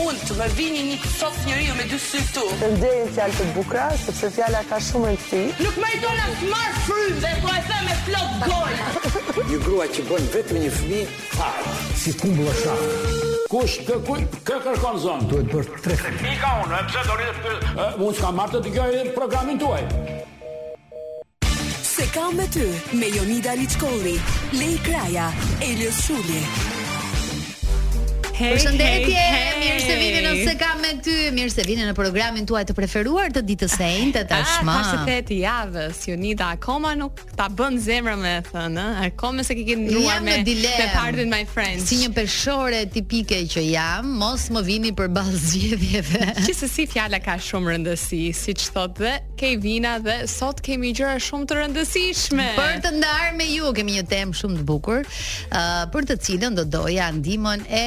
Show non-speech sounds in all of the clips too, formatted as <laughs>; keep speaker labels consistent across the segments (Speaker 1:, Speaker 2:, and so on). Speaker 1: unë të më vini një sof njeriu me dy sy këtu.
Speaker 2: Përnderin fjalë të bukura, sepse fjala ka shumë rëndësi.
Speaker 1: Nuk më dona të marr frymë dhe po e them me plot gojë.
Speaker 3: Një grua që bën vetëm një fëmijë, fare.
Speaker 4: si kumbulla shafë.
Speaker 5: Kush kë kë kë kërkon zonë?
Speaker 4: Duhet bërë tre fëmijë.
Speaker 5: Mi ka unë, e pse do rritë për... Unë s'ka marrë të dëgjoj programin tuaj.
Speaker 6: Se kam me ty me Jonida Liçkolli, Lej Kraja, Elios Shuli.
Speaker 7: Hey,
Speaker 8: Përshëndetje,
Speaker 7: hey, hey.
Speaker 8: mirë se vini në se kam me ty, mirë se vini në programin tuaj të preferuar të ditës së njëjtë tashmë.
Speaker 7: Ah, tash të javës, Jonida akoma nuk ta bën zemra me thënë, ë? Akoma se ke ke ndruar
Speaker 8: Jam
Speaker 7: me
Speaker 8: në dilemë.
Speaker 7: me Pardon My Friends.
Speaker 8: Si një peshore tipike që jam, mos më vini përballë zgjedhjeve.
Speaker 7: <laughs> Gjithsesi fjala ka shumë rëndësi, siç thot dhe Kevina dhe sot kemi gjëra shumë të rëndësishme.
Speaker 8: Për të ndarë me ju kemi një temë shumë të bukur, uh, për të cilën do doja ndihmën e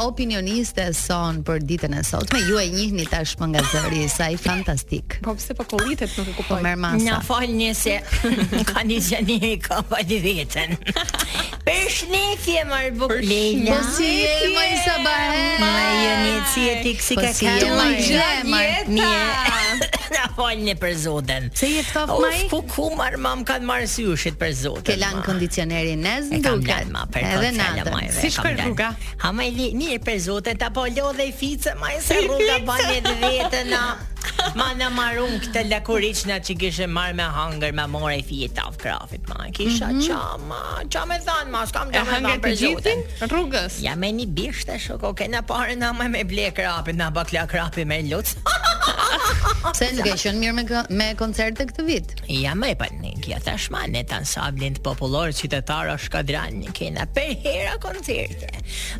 Speaker 8: opinionistes son për ditën e sotme. Ju e njihni tashmë nga zëri i saj fantastik.
Speaker 7: Po pse po kollitet nuk
Speaker 8: Po
Speaker 7: e kuptoj.
Speaker 8: merr masa.
Speaker 9: Nga falë një
Speaker 8: <laughs>
Speaker 9: se ka një gjeni ka falë vetën. Për shnetje marë bukë Leila.
Speaker 8: Po si e më i sabahe?
Speaker 9: Ma jo një si e ti kësi
Speaker 8: Po
Speaker 9: ka
Speaker 8: si
Speaker 9: ka
Speaker 8: e, Maj?
Speaker 9: Mje. <laughs> Na falë një për zotën.
Speaker 8: Se je ftoft,
Speaker 9: Uf,
Speaker 8: Maj?
Speaker 9: Po ku marë mam kanë marë syushit për zotën.
Speaker 8: Ke lan
Speaker 9: ma.
Speaker 8: kondicionerin nez
Speaker 9: E
Speaker 8: në
Speaker 9: kam
Speaker 8: duket.
Speaker 9: lan ma për
Speaker 8: Edhe
Speaker 9: këtë fjallë ma
Speaker 8: natën.
Speaker 9: e ve,
Speaker 7: Si
Speaker 9: kam
Speaker 7: shkon
Speaker 9: lan.
Speaker 7: rruga?
Speaker 9: Ha ma i li, një për zotën, ta po lo dhe i fice, ma e se rruga ban e dhe vetën na. Ma në marun këtë lakuriq na që kishe marrë me hangër me more i fije taf krafit ma Kisha qa ma, qa me thanë ma, s'kam
Speaker 7: Mhm. E
Speaker 9: qa me
Speaker 7: hëngër
Speaker 9: thanë
Speaker 7: të
Speaker 9: për
Speaker 7: gjithin
Speaker 9: zotën
Speaker 7: rrugës.
Speaker 9: Ja me një bisht e shoko, ke në pare na me me ble krapit, na bakla krapi me luc
Speaker 8: Pse nuk e qenë mirë me kë- me koncerte këtë vit?
Speaker 9: Ja me për një kja tashma në të ansablin të popullor qytetar o shkodran një kena për hera koncerte.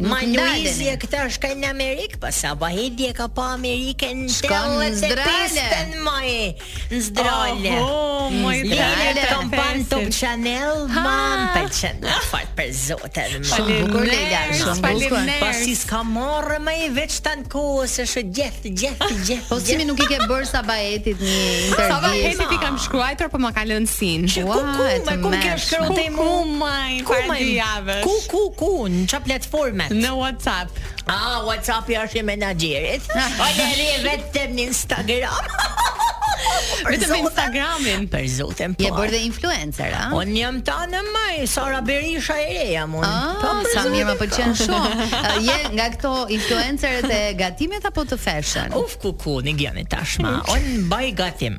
Speaker 8: Nuk
Speaker 9: Ma
Speaker 8: ndalen.
Speaker 9: Luizje këta shkaj në Amerikë, pa Sabahidje ka pa Amerikën në
Speaker 8: Shkon në zdrale.
Speaker 9: pistën maj, në zdrale.
Speaker 7: Oh, moj
Speaker 9: Lele
Speaker 7: të
Speaker 9: kam pan Top Channel, mam për Channel, fort për zotën. ma.
Speaker 8: Shumë bukur Leila, shumë bukur.
Speaker 9: Po si s'ka marrë më i veç tanë kohës, është gjeth, gjeth, gjeth.
Speaker 8: Po si mi nuk i ke bërë Sabahetit një
Speaker 7: Sa va
Speaker 8: intervjë?
Speaker 7: heti ti kam shkruajtur po ma ka lënë sin.
Speaker 9: Që
Speaker 8: Ua,
Speaker 9: ku ku,
Speaker 8: e
Speaker 9: me ku ke
Speaker 8: tmerrshme.
Speaker 9: shkruar te mu?
Speaker 7: maj,
Speaker 9: Ku
Speaker 7: para
Speaker 9: më?
Speaker 7: dy javësh.
Speaker 9: Ku ku ku, në çfarë platforme?
Speaker 7: Në WhatsApp.
Speaker 9: Ah, WhatsApp i është i
Speaker 8: <laughs>
Speaker 9: menaxherit. O deri vetëm në Instagram. Për
Speaker 7: Vetëm me
Speaker 9: zotën.
Speaker 7: Instagramin.
Speaker 9: Për zotën po.
Speaker 8: Je bërë dhe influencer, a?
Speaker 9: Unë jam ta në maj, Sara Berisha e reja mund. Po,
Speaker 8: Ah, sa mirë më pëlqen
Speaker 9: <laughs>
Speaker 8: shumë. <laughs> Uh, Je nga këto influencerët e gatimet apo të fashion?
Speaker 9: Uf ku ku, një gjeni tashma Unë baj gatim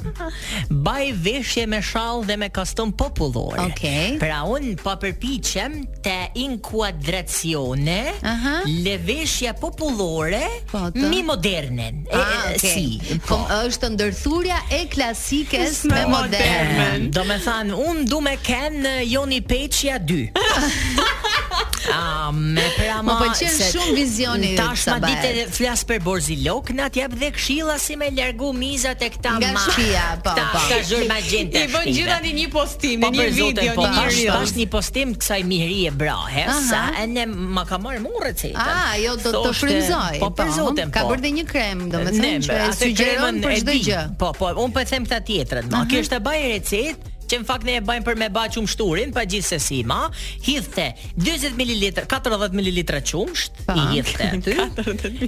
Speaker 9: Baj veshje me shall dhe me kostum popullore
Speaker 8: Okej.
Speaker 9: Pra unë pa përpiqem Të inkuadracione
Speaker 8: Aha.
Speaker 9: Leveshja popullore
Speaker 8: Po, të-
Speaker 9: Mi modernen E,
Speaker 8: Ah,
Speaker 9: e,
Speaker 8: okay.
Speaker 9: Si
Speaker 8: Po është ndërthurja e klasikes
Speaker 7: Me
Speaker 8: me modern.
Speaker 7: modern.
Speaker 9: Do me thanë, unë du me ken eh, Joni Peqja
Speaker 8: <laughs>
Speaker 9: 2 A, me pra
Speaker 8: Më
Speaker 9: ma
Speaker 8: pëlqen
Speaker 9: se-
Speaker 8: Po, shumë vizioni i
Speaker 9: Tash ma
Speaker 8: Sabahet.
Speaker 9: dite flas për Borzilok Na t'jep dhe këshilla si me lërgu mizat e këta
Speaker 8: Nga
Speaker 9: ma
Speaker 8: shtëpia, po,
Speaker 9: Këta
Speaker 8: po.
Speaker 9: Këta
Speaker 8: <laughs>
Speaker 9: zhurma gjente
Speaker 7: I bën gjithani një postim,
Speaker 9: Po
Speaker 7: një
Speaker 9: për zotin,
Speaker 7: video,
Speaker 9: po
Speaker 7: një
Speaker 9: tash
Speaker 7: reel.
Speaker 9: tash një postim kësaj mihri e brahe,
Speaker 8: Aha.
Speaker 9: sa e ne ma ka marrë mua recetën.
Speaker 8: Ah, jo do të
Speaker 9: Thoshte-
Speaker 8: frymëzoj.
Speaker 9: Po për zotin,
Speaker 8: Ka
Speaker 9: po.
Speaker 8: bërë dhe një krem,
Speaker 9: Ne,
Speaker 8: domethënë që e
Speaker 9: atë kremën
Speaker 8: sugjeron për
Speaker 9: e
Speaker 8: çdo
Speaker 9: di.
Speaker 8: gjë.
Speaker 9: Po, po, un po e them këtë tjetrën. Ma kjo është e baj recet që në fakt ne e bajmë për me ba qumshturin, shturin, pa gjithsesi ma, hidhte 40 ml, 40 ml qumsht,
Speaker 8: Pa.
Speaker 9: i hidhte aty.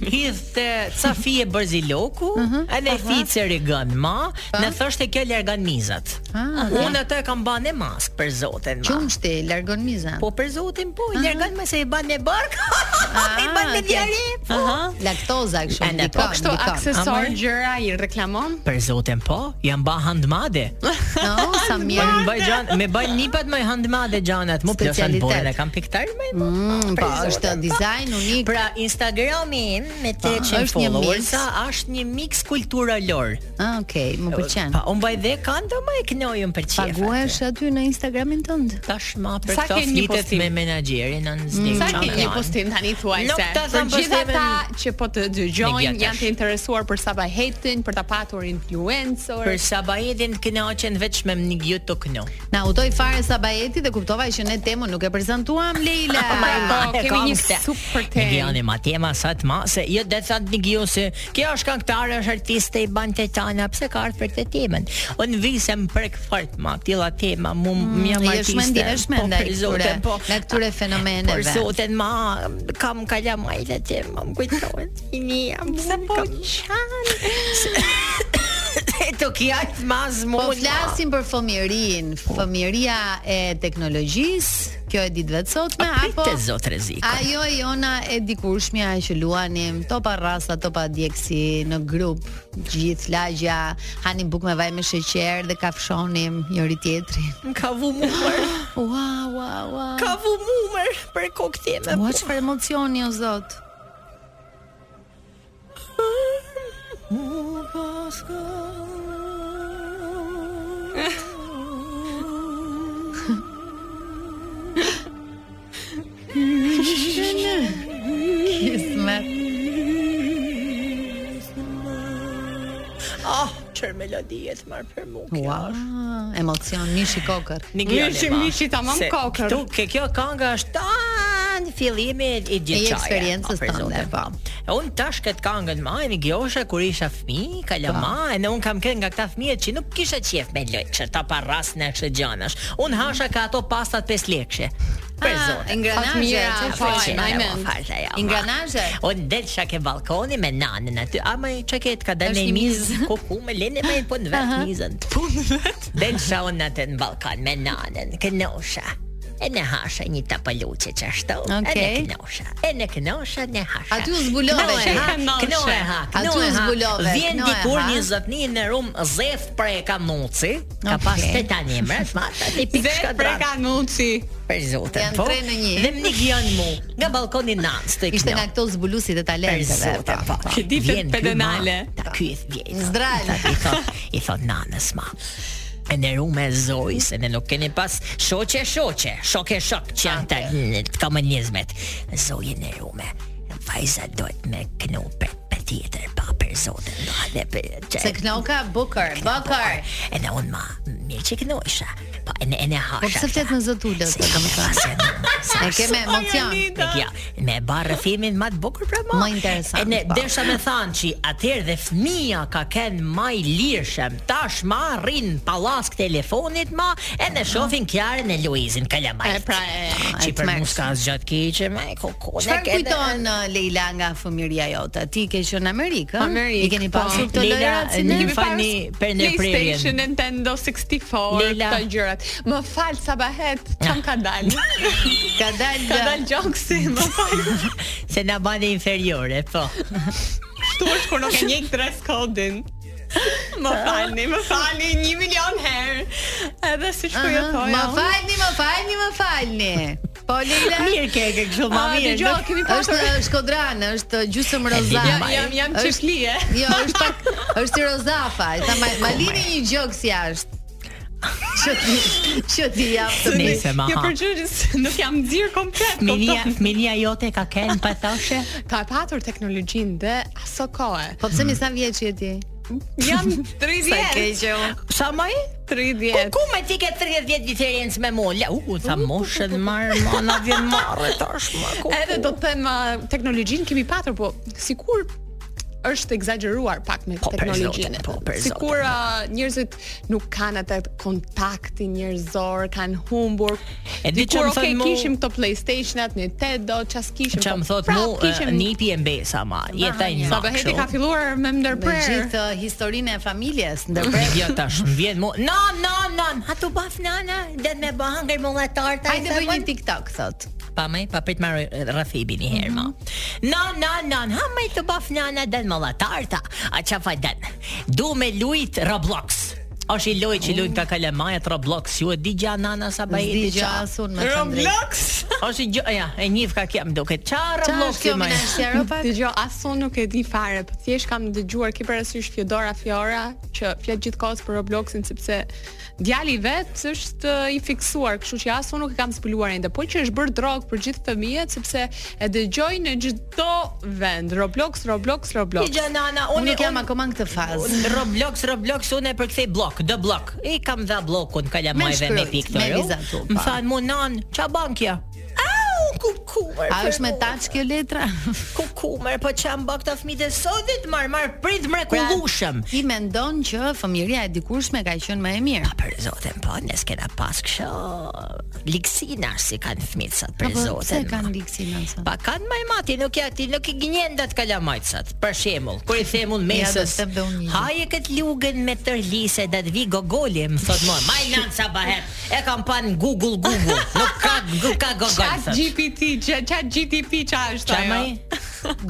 Speaker 9: hidhte ca fije bërziloku, edhe fice rigën ma, në thoshte kjo largon mizat.
Speaker 8: Ah,
Speaker 9: Unë atë e kam banë mask për zotin ma.
Speaker 8: Qumshti largon mizën.
Speaker 9: Po për zotin po, i largon më se i ban me bark.
Speaker 8: Ah,
Speaker 9: <laughs> I ban me
Speaker 8: okay.
Speaker 9: diare. Po.
Speaker 8: Laktoza kështu.
Speaker 9: Ende, po,
Speaker 8: ndikon,
Speaker 7: Kështu
Speaker 8: ndikon.
Speaker 7: aksesor
Speaker 9: Ama-
Speaker 7: gjëra i reklamon.
Speaker 9: Për zotin po, jam ba handmade. <laughs>
Speaker 8: No, sa
Speaker 9: Unë
Speaker 8: mirë.
Speaker 9: baj gjan, me baj nipat më handmade gjanat, mu plosan
Speaker 8: Specialitet.
Speaker 9: bojën e kam piktar më.
Speaker 8: Mm, po, është dizajn unik.
Speaker 9: Pra Instagrami im me 300
Speaker 8: Ah, është një
Speaker 9: followers
Speaker 8: mix.
Speaker 9: është një mix kulturalor.
Speaker 8: Ah, okay, më pëlqen.
Speaker 9: Pa, unë baj dhe kanto më e knojën për çfarë.
Speaker 8: Paguhesh aty në Instagramin tënd?
Speaker 9: tashmë për
Speaker 7: Sa
Speaker 9: këto
Speaker 7: ke një
Speaker 9: flitet
Speaker 7: postim? Mm,
Speaker 9: me menaxherin në zgjidhje.
Speaker 7: Sa ke një postim tani thuaj
Speaker 9: Nuk
Speaker 7: se
Speaker 9: ta
Speaker 7: për
Speaker 9: tham
Speaker 7: gjithë
Speaker 9: postimin-
Speaker 7: ata që po të dëgjojnë
Speaker 9: Media
Speaker 7: janë
Speaker 9: tash.
Speaker 7: të interesuar për Sabahetin, për ta patur influencer.
Speaker 9: Për Sabahetin kënaqen vetëm me një gjë gjë të kënu.
Speaker 8: Na udoj fare Sabajeti dhe kuptova që ne temën nuk e prezantuam Leila.
Speaker 9: <laughs>
Speaker 7: Po,
Speaker 9: e
Speaker 7: kemi
Speaker 9: kam
Speaker 7: një
Speaker 9: këtë.
Speaker 7: super
Speaker 9: Ne
Speaker 7: temë.
Speaker 9: gjani ma tema sa të ma se jo det sa të ngjiu se kjo është këngëtare, është artiste i ban të tana, pse ka ardhur për këtë temën. Unë visem prek fort ma, tilla tema, mu
Speaker 7: Mm,
Speaker 9: më jam
Speaker 8: je
Speaker 9: artiste.
Speaker 8: shmendi, je shmendi
Speaker 9: po,
Speaker 8: ai
Speaker 9: për
Speaker 8: këtyre-
Speaker 9: zotin, po,
Speaker 8: nga këtyre fenomeneve.
Speaker 9: Për zotin ma kam kalamajt e tema, më kujtohet. Ini jam
Speaker 7: Sa po
Speaker 9: kam- E të kja të mazë mund
Speaker 8: Po flasim për fëmirin, fëmiria e teknologjisë, kjo e ditëve të sotme apo
Speaker 9: Apo zot rrezik.
Speaker 8: ajo e jona e dikurshmja që luanim topa rrasa, topa djeksi në grup, gjithë lagja, hanim bukë me vaj me sheqer dhe kafshonim njëri tjetrin.
Speaker 9: Ka vu mumër,
Speaker 8: Ua, ua, ua.
Speaker 9: ka vu mumër për
Speaker 8: Po
Speaker 9: koktime.
Speaker 8: Ua, çfarë emocioni o zot? Kismet.
Speaker 9: Ah, çfarë melodi e të marr për mua.
Speaker 8: Ua, Ah, emocion mishi kokër.
Speaker 7: Mishi- mishi tamam kokër.
Speaker 9: Ktu ke kjo kënga është tan fillimi i
Speaker 8: E
Speaker 9: gjithë
Speaker 8: eksperiencës tënde, po.
Speaker 9: Un tash këtë këngën më në gjosha kur isha fëmijë,
Speaker 8: Po.
Speaker 9: kalama, e ne un kam kënë nga këta fëmijë që nuk kisha qejf me lojë, ta pa rast në kështë gjanash. Un hasha ka ato pastat 5 lekëshe. Për
Speaker 8: Ah,
Speaker 9: zotin.
Speaker 8: Ingranazhe,
Speaker 7: Fatmira,
Speaker 8: që
Speaker 7: po,
Speaker 8: faqe.
Speaker 7: ai men.
Speaker 8: Ingranazhe.
Speaker 9: O del çka ke balkoni me nanën aty. A më çka ke ka dalë
Speaker 8: Është
Speaker 9: në
Speaker 8: një
Speaker 9: mizë
Speaker 8: mizë.
Speaker 9: ku ku me lene më po në vet mizën. Punë vet. Del shaun atë në balkon me nanën, kënosha. E ne hasha një tapaluçe çashtu. E
Speaker 8: Okej.
Speaker 9: ne kënosha. E ne kënosha ne hasha.
Speaker 8: Aty u zbulove.
Speaker 9: Kënohe, ha,
Speaker 7: Kënoshe.
Speaker 9: Kënohe ha.
Speaker 8: Aty u
Speaker 9: kënohe, ha.
Speaker 8: zbulove,
Speaker 9: Vjen
Speaker 8: kënohe,
Speaker 9: dikur
Speaker 8: ha.
Speaker 9: një zotni në rum zef prej kanuci. Ka
Speaker 8: Okej.
Speaker 9: pas të tani më, ma tani pikë
Speaker 7: Dhe
Speaker 9: shkadratë.
Speaker 7: prekanuci.
Speaker 9: Për zotën,
Speaker 8: Janë tre në një.
Speaker 9: Dhe më një gjanë mu, nga balkoni nanës të
Speaker 8: Ishte
Speaker 9: këno.
Speaker 8: nga këto zbulusit e
Speaker 9: Për
Speaker 8: talenteve.
Speaker 9: zotën, po.
Speaker 7: Që ditët
Speaker 9: Vjen ky
Speaker 7: pedonale.
Speaker 9: ma, Ta ky e vjen.
Speaker 8: Zdral.
Speaker 9: I thot, i thot nanës ma. E në rume e zoj, se ne nuk keni pas shoqe, shoqe, shoke, shok, që janë të në të komunizmet. Zoj e në rume, vajza do të me kënu për, për tjetër, pa për zotën, do hajde për... që-
Speaker 8: Se knoka bukër, bukër.
Speaker 9: E në unë ma, mirë që kënojsha, po e në, e në hasha.
Speaker 8: Po pse flet me zotulët,
Speaker 9: Se kam
Speaker 8: domethënë?
Speaker 9: pasë.
Speaker 8: Ne kemë emocion.
Speaker 9: Tek ja, me barë rëfimin ma të bukur pra ma.
Speaker 8: Më interesant,
Speaker 9: E ne
Speaker 8: po.
Speaker 9: desha me thanë që atëherë dhe fëmia ka kenë ma i lirshëm. Tash ma rrin pallask telefonit ma e ne shohin Kiarën e Luizin kalamaj.
Speaker 7: E pra e.
Speaker 9: Që
Speaker 8: e
Speaker 9: për
Speaker 8: tmerrshme.
Speaker 9: mu s'ka asgjë të keqe me kokone.
Speaker 8: Çfarë kujton uh, Leila nga fëmijëria jote? Ti ke qenë në Amerikë, ëh?
Speaker 7: Amerikë,
Speaker 8: I keni
Speaker 7: po.
Speaker 8: pasur këto
Speaker 9: Leila,
Speaker 8: lojra
Speaker 9: e një
Speaker 7: Kemi
Speaker 8: cine?
Speaker 9: fa- fani
Speaker 7: pas
Speaker 9: për ndërprerjen.
Speaker 7: PlayStation, Nintendo 64,
Speaker 9: Leila.
Speaker 7: këto gjërat. Më fal Sabahet, çam ka
Speaker 9: <laughs>
Speaker 7: dalë?
Speaker 8: Ka dalë
Speaker 7: <laughs>
Speaker 8: uh,
Speaker 7: ka dalë gjoksi, më fal.
Speaker 9: <laughs> Se na bane inferiore, po.
Speaker 7: Kështu është kur nuk e njeh dress code-in. Më
Speaker 9: <laughs>
Speaker 7: falni, më falni një milion herë. Edhe siç po ju
Speaker 8: Aha,
Speaker 7: thoja.
Speaker 8: Më
Speaker 7: unë.
Speaker 8: uh-huh. falni, më falni, më falni. Po
Speaker 7: <laughs>
Speaker 8: Leila,
Speaker 9: Mirë ke ke kështu ma
Speaker 7: Ah,
Speaker 9: mirë.
Speaker 7: dëgjoj,
Speaker 9: nuk-
Speaker 7: kemi
Speaker 8: është
Speaker 7: pasur
Speaker 8: uh, Shkodran, është uh, gjysmë rozave.
Speaker 7: Jam jam jam
Speaker 8: Është-
Speaker 7: çiflije.
Speaker 8: Jo, është pak është si rozafa. E tha ma, ma lini një gjok si jashtë. Që ti,
Speaker 7: <laughs>
Speaker 8: që ti jap të
Speaker 9: Se
Speaker 8: mi.
Speaker 9: Nëse, ma,
Speaker 7: Jo
Speaker 9: ha.
Speaker 7: përgjigjes, nuk jam nxirr
Speaker 9: <laughs>
Speaker 7: komplet.
Speaker 9: Minia,
Speaker 7: kupton?
Speaker 9: minia jote ka kenë pa thoshe?
Speaker 7: Ka patur teknologjinë dhe aso kohë.
Speaker 8: Po pse mi sa vjeç je ti?
Speaker 9: <laughs>
Speaker 7: Jam
Speaker 8: Sa
Speaker 7: 30.
Speaker 8: keq e unë.
Speaker 9: Sa më i?
Speaker 7: 30.
Speaker 9: Ku me ti ke 30 vjet diferencë me mua? La, u, tha moshën marr, ma na vjen marrë tash më. Ku?
Speaker 7: Edhe do të them uh, teknologjinë kemi patur, po sikur është egzageruar pak me
Speaker 9: Po, për
Speaker 7: teknologjinë.
Speaker 9: zotin, po, për zotin.
Speaker 7: Sikur uh, njerëzit nuk kanë atë kontaktin njerëzor, kanë humbur.
Speaker 9: E di që
Speaker 7: Dikur,
Speaker 9: më thënë
Speaker 7: okay,
Speaker 9: mu-
Speaker 7: kishim këto PlayStation-at, Nintendo, ças kishim.
Speaker 9: Që
Speaker 7: po
Speaker 9: më thot
Speaker 7: prap
Speaker 9: mu,
Speaker 7: kishim-
Speaker 9: e, nipi e mbesa ma, jeta i
Speaker 8: një.
Speaker 9: një
Speaker 7: Sa bëheti ka filluar me
Speaker 8: Me
Speaker 7: ndërprerje.
Speaker 8: gjithë uh, historinë e familjes,
Speaker 9: Me
Speaker 8: ndërprer.
Speaker 9: vjen tash, më Jo, vjen mu, no, no, no, ha tu baf nana, dhe me bë hangër më la tarta.
Speaker 8: Hajde bëj një TikTok thot.
Speaker 9: Pa më, pa prit marr Rafibin një herë ma.
Speaker 8: Mhm.
Speaker 9: No, no, no, ha më tu baf nana, dhe me la tarta. A çafa den. Du me lujt Roblox. Është i
Speaker 8: Mm.
Speaker 9: lojë që lujnë ka kalamajat Roblox, ju e di gja nana sa bëjë
Speaker 8: Zdi gjasun me
Speaker 7: Roblox.
Speaker 9: Është gjë, ja, e njif ka kjo, më duket. Çfarë
Speaker 8: Qa është
Speaker 9: lloj
Speaker 8: kjo
Speaker 9: më?
Speaker 8: Minas Europa?
Speaker 7: Dëgjoj, as unë nuk e di fare, po thjesht kam dëgjuar ke parasysh Fiodora Fiora që flet gjithkohës për Robloxin sepse djali i vet është eh, i fiksuar, kështu që as unë nuk e kam zbuluar ende, po që është bërë drog për gjithë fëmijët sepse e dëgjoj në çdo vend. Roblox, Roblox,
Speaker 9: Ti
Speaker 7: Roblox.
Speaker 9: gjë nana,
Speaker 8: Unë
Speaker 9: unë
Speaker 8: nuk jam akoma në këtë fazë.
Speaker 9: Roblox, Roblox, unë e përkthej blok, dë blok. I kam dha blokun kalamajve me
Speaker 8: shkryt,
Speaker 9: pikë
Speaker 8: me
Speaker 9: të ru.
Speaker 8: vizatu,
Speaker 9: Më
Speaker 8: pa.
Speaker 9: than mu nan, ç'a bën kjo? Au, kukumer.
Speaker 8: A është me touch kjo letra?
Speaker 9: Kukumer, po ç'a bën këta fëmijë të sotit, mar mar prit mrekullueshëm.
Speaker 8: Ti mendon që fëmijëria e dikurshme ka qenë më e mirë.
Speaker 9: Për zotin, po, ne s'kena pas kësho liksina si kanë fëmijët sot për
Speaker 8: Apo pse
Speaker 9: zotin.
Speaker 8: kanë liksinën sa?
Speaker 9: Pa kanë majmati, nuk ja ti nuk i gjen dat kalamajcat. Për shembull, kur i them unë
Speaker 8: Ja, do
Speaker 9: mesës,
Speaker 8: të them dhe unë një gjë.
Speaker 9: haje kët lugën me tërlise dat vi gogoli, më thot mua,
Speaker 8: <laughs>
Speaker 9: maj lan sa bahet. E kam pan Google Google, nuk ka nuk ka gogol.
Speaker 7: Chat
Speaker 9: thot.
Speaker 7: GPT, Chat GTP qa është
Speaker 9: Qa
Speaker 7: ajo?
Speaker 9: maj?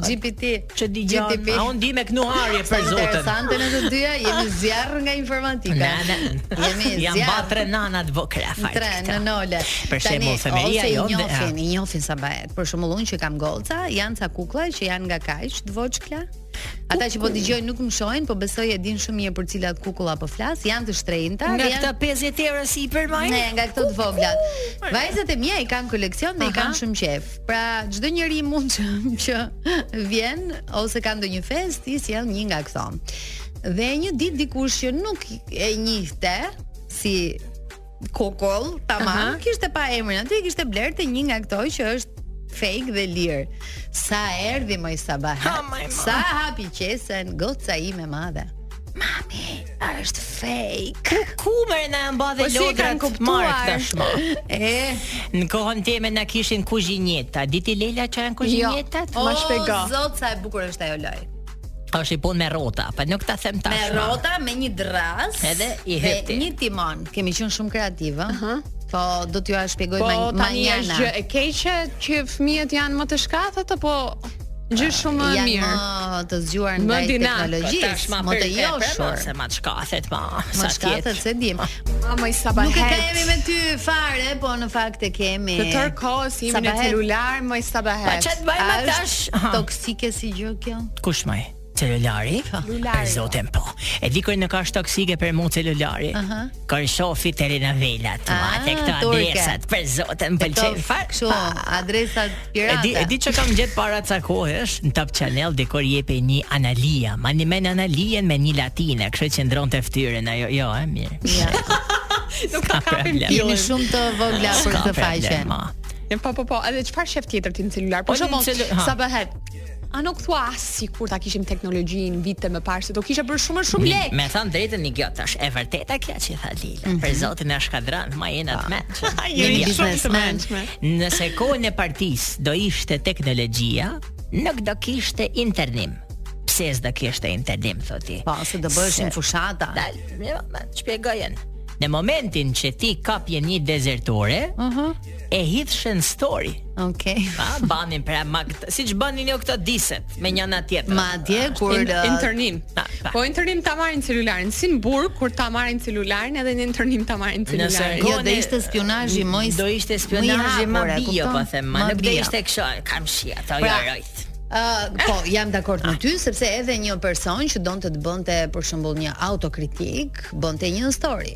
Speaker 8: GPT.
Speaker 9: Që di gjan,
Speaker 8: GTP.
Speaker 9: a unë di me knuharje për zotin.
Speaker 8: Interesante në të dyja, jemi zjarr nga informatika.
Speaker 9: Nana,
Speaker 8: <laughs> Jemi
Speaker 9: <laughs> jam
Speaker 8: zjarr.
Speaker 9: batre nana të vokra, fakt.
Speaker 8: tre në nole.
Speaker 9: Për shembull, femeria
Speaker 8: ose
Speaker 9: jonë,
Speaker 8: i njohin,
Speaker 9: ja. jo,
Speaker 8: i njohin sa bëhet. Për shembull, unë që kam goca, janë ca kukulla që janë nga kaq të voçkla. Ata që po dëgjojnë nuk më shohin, po besoj e din shumë mirë për cilat kukulla po flas, janë të shtrenjta
Speaker 9: Nga
Speaker 8: dhe janë
Speaker 9: këta 50 euro si i përmajnë?
Speaker 8: Ne nga këto të vogla. Vajzat e mia i kanë koleksion dhe i
Speaker 9: Aha.
Speaker 8: kanë shumë qejf. Pra çdo njeri mund që, <laughs> që vjen ose ka ndonjë festë, i sjell një nga këto. Dhe një ditë dikush që nuk e njihte si kokoll, tamam, kishte pa emrin aty, kishte bler të një nga këto që është fake dhe lirë. Sa erdhi moj sabah.
Speaker 9: Ha, maj, ma.
Speaker 8: Sa hapi qesen goca ime e madhe. Mami, është fake.
Speaker 9: Kumer na e mba dhe
Speaker 8: Po si e kanë
Speaker 9: lodrat
Speaker 8: kuptuar?
Speaker 9: mark tashmë.
Speaker 8: E,
Speaker 9: Në kohën time na kishin kuzhinjeta. Diti Leila që janë kuzhinjetat?
Speaker 8: Jo. O,
Speaker 7: Ma shpjego.
Speaker 8: Zot sa e bukur është ajo loj.
Speaker 9: Është i punë me rrota, po nuk ta them
Speaker 8: Me
Speaker 9: tashmë.
Speaker 8: rrota, me një dras,
Speaker 9: Edhe i
Speaker 8: me
Speaker 9: hepti.
Speaker 8: një timon. Kemi qenë shumë kreativë. ëh. Po do t'ju ja shpjegoj
Speaker 7: Po
Speaker 8: ma
Speaker 7: tani është gjë
Speaker 8: manjana.
Speaker 7: e keqe që fëmijët janë më të shkatët apo gjë shumë më e
Speaker 8: Janë
Speaker 7: mirë.
Speaker 8: më të zgjuar
Speaker 7: Më
Speaker 8: nga
Speaker 7: dinak, po
Speaker 8: teknologjisë, më të joshur.
Speaker 9: se ma të shkathet ma.
Speaker 8: Më
Speaker 9: Sa
Speaker 8: shkatët
Speaker 9: tjetë.
Speaker 8: se dim.
Speaker 7: Ama
Speaker 8: Nuk
Speaker 7: i
Speaker 8: e
Speaker 7: sabahet.
Speaker 8: kemi me ty fare, po në fakt e kemi.
Speaker 7: Të tërë kohës jemi në
Speaker 8: Sabahet. Po,
Speaker 7: celular, më i sabahet. Po,
Speaker 9: Pa çat bëjmë
Speaker 8: A
Speaker 9: tash?
Speaker 8: është toksike si gjë kjo?
Speaker 9: Kush më? Celulari? Celulari. Për zotin po. E di kur nuk është toksike për mu celulari. Aha. Kur shofi telenovelat, ma
Speaker 8: Ah,
Speaker 9: te këto
Speaker 8: turke.
Speaker 9: adresat, për zotin më
Speaker 8: Këto
Speaker 9: pëlqen fare.
Speaker 8: kështu
Speaker 9: Pa.
Speaker 8: adresat
Speaker 9: E
Speaker 8: pirata.
Speaker 9: di, e di që kam gjetë para ca kohësh në Top Channel dikur jepe një analia, ma një men analien me një latine, kështu që ndron të ftyrën ajo, jo, e mirë. <laughs>
Speaker 8: Ja.
Speaker 7: Nuk ka kapim
Speaker 9: problem.
Speaker 8: Jemi
Speaker 7: fillin.
Speaker 8: shumë të vogla për
Speaker 9: S'ka
Speaker 8: këtë faqe.
Speaker 9: problema.
Speaker 7: Po po po, edhe çfarë shef tjetër ti në celular? Po
Speaker 9: Po, në
Speaker 7: shumë
Speaker 9: celu- ha.
Speaker 7: sabahet. A nuk thua as sikur ta kishim teknologjinë vite më parë se do kisha bërë shumë më shumë lek.
Speaker 9: Me thënë drejtën një gjotë është e vërteta kja që i tha Lila,
Speaker 8: Mhm.
Speaker 9: për zotin e shkadran, ma jena
Speaker 8: Ah.
Speaker 9: të meqë.
Speaker 8: Jemi
Speaker 9: Një gjatë.
Speaker 8: biznesmen.
Speaker 9: Nëse kohën e partisë do ishte teknologjia, nuk do kishte internim. Pse s'do kishte internim, thoti.
Speaker 8: Po, se do bëheshin
Speaker 9: Se-
Speaker 8: fushata.
Speaker 9: Dal, jo, ma të shpjegojen. Në momentin që ti kapje një dezertore,
Speaker 8: Mhm.
Speaker 9: e hidhshën story.
Speaker 8: Okej.
Speaker 9: Pa, banin pra ma këtë, si që banin jo këto diset me njëna tjetër.
Speaker 8: Madje kur
Speaker 7: In,
Speaker 8: uh,
Speaker 7: internim.
Speaker 9: Ta, ta.
Speaker 7: Po internim ta marrin celularin. Si në burg kur ta marrin celularin edhe në internim ta marrin celularin.
Speaker 8: Jo, do ishte spionazhi më i-
Speaker 9: Do
Speaker 8: më
Speaker 9: ishte
Speaker 8: i
Speaker 9: spionazhi më
Speaker 8: hapur, e
Speaker 9: bio,
Speaker 8: kupton?
Speaker 9: po them, ma
Speaker 8: Ma
Speaker 9: nuk do
Speaker 8: bio.
Speaker 9: ishte kështu, kam shi ato
Speaker 8: Pra,
Speaker 9: jo rojt.
Speaker 8: Uh, po, jam dakord
Speaker 9: Ah.
Speaker 8: me ty sepse edhe një person që donte të bënte për shembull një autokritik, bënte një story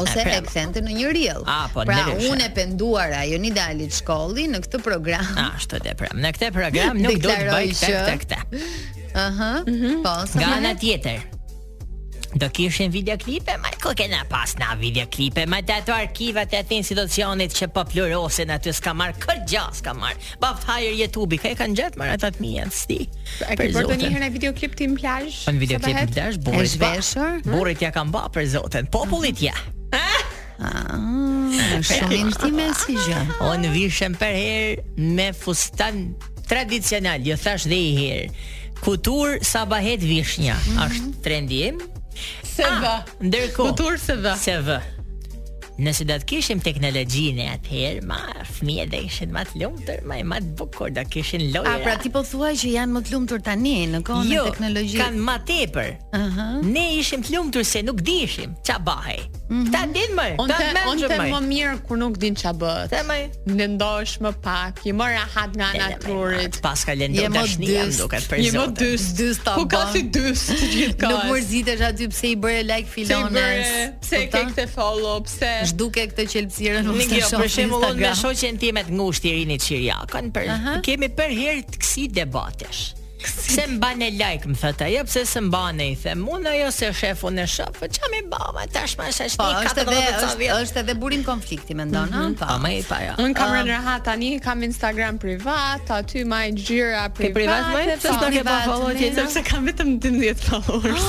Speaker 8: ose
Speaker 9: E, pra.
Speaker 8: e kthente në një reel.
Speaker 9: A, po,
Speaker 8: pra
Speaker 9: ndryshe.
Speaker 8: unë e penduara Jonidali Shkolli në këtë program.
Speaker 9: <laughs> Ashtu dhe pra. Në këtë program nuk do të bëj
Speaker 8: Deklaroj
Speaker 9: këtë
Speaker 8: që-
Speaker 9: këtë këtë.
Speaker 8: Aha.
Speaker 9: Mhm.
Speaker 8: Po, sa
Speaker 9: Nga
Speaker 8: më
Speaker 9: ana
Speaker 8: herë?
Speaker 9: tjetër. Do kishin videoklipe, ma ku kena pas na videoklipe, ma të ato arkivat e atë institucionit që po plorosin aty s'ka marr kërë gja s'ka marr. Baft hajër YouTube-i, ka e kanë gjetë marr ata të mia, s'ti.
Speaker 7: E ke bërë ndonjëherë në videoklip ti në plazh?
Speaker 9: Po në videoklip
Speaker 7: sabahet?
Speaker 9: në plazh
Speaker 8: E
Speaker 9: burrit pa.
Speaker 8: zhveshur?
Speaker 9: Burrit ja kanë bë për zotin. Popullit ja.
Speaker 8: Ah, Shumë intime si gjë.
Speaker 9: Unë vishem për herë me fustan tradicional, jo thash dhe i herë. Kutur sabahet vishnja,
Speaker 8: Mhm.
Speaker 9: është trendi im. Ah,
Speaker 7: Se vë.
Speaker 9: Ndërkohë.
Speaker 7: Kutur se vë.
Speaker 9: Se vë. Nëse do të kishim teknologjinë e atëherë, ma fëmijët do ishin më të lumtur, më ma të bukur do kishin lojra.
Speaker 8: A pra ti po thua që janë më të lumtur tani në kohën
Speaker 9: jo,
Speaker 8: e teknologjisë.
Speaker 9: kanë më tepër.
Speaker 8: Aha.
Speaker 9: Ne ishim të lumtur se nuk dishim ç'a bahej.
Speaker 8: Mhm.
Speaker 9: Këta din më,
Speaker 7: Unë
Speaker 9: këta
Speaker 7: the- unë
Speaker 9: mendshëm
Speaker 7: them më
Speaker 9: më.
Speaker 7: mirë kur nuk din ç'a bëhet.
Speaker 9: Të më.
Speaker 7: Mendosh më pak, je më rahat nga naturit.
Speaker 9: Pas ka lënë
Speaker 8: Je më
Speaker 9: dashni jam
Speaker 8: dyst,
Speaker 9: duket për
Speaker 7: Je më
Speaker 9: zotën.
Speaker 7: dyst,
Speaker 8: Dyst ta
Speaker 7: Ku ka
Speaker 8: bën.
Speaker 7: si dyst gjithë kohës?
Speaker 8: Nuk mërzitesh aty pse i bëre like
Speaker 7: Pse i
Speaker 8: filones.
Speaker 7: bëre? Pse
Speaker 9: Po
Speaker 7: e ke
Speaker 8: kupton?
Speaker 7: këtë follow? Pse?
Speaker 8: Zhduke këtë qelpsirën nuk
Speaker 9: Në
Speaker 8: të
Speaker 9: kjo,
Speaker 8: shoh.
Speaker 9: për shembull, unë me
Speaker 8: Instagram.
Speaker 9: shoqen time të ngushtë Irinit Çirjakën, për
Speaker 8: Aha.
Speaker 9: kemi për herë të kësi debatesh. Se mban e like, më thëtë ajo, pse se mban e i them, unë ajo se shefu në shëf, po që mi bama, tash ma shashni,
Speaker 8: Po, është edhe
Speaker 9: 14 ca
Speaker 8: është,
Speaker 9: vjetë.
Speaker 8: është edhe burim konflikti mendon, ëh?
Speaker 7: Mhm.
Speaker 8: Po.
Speaker 9: Pa, ma i pa, ja.
Speaker 7: Unë kam rënë rahat tani, kam Instagram privat, aty maj gjyra private.
Speaker 9: Ke privat më e
Speaker 8: po,
Speaker 9: s'do ke pa
Speaker 8: privat,
Speaker 9: follow
Speaker 8: ne.
Speaker 9: tjetër.
Speaker 7: sepse kam vetëm 12 followers.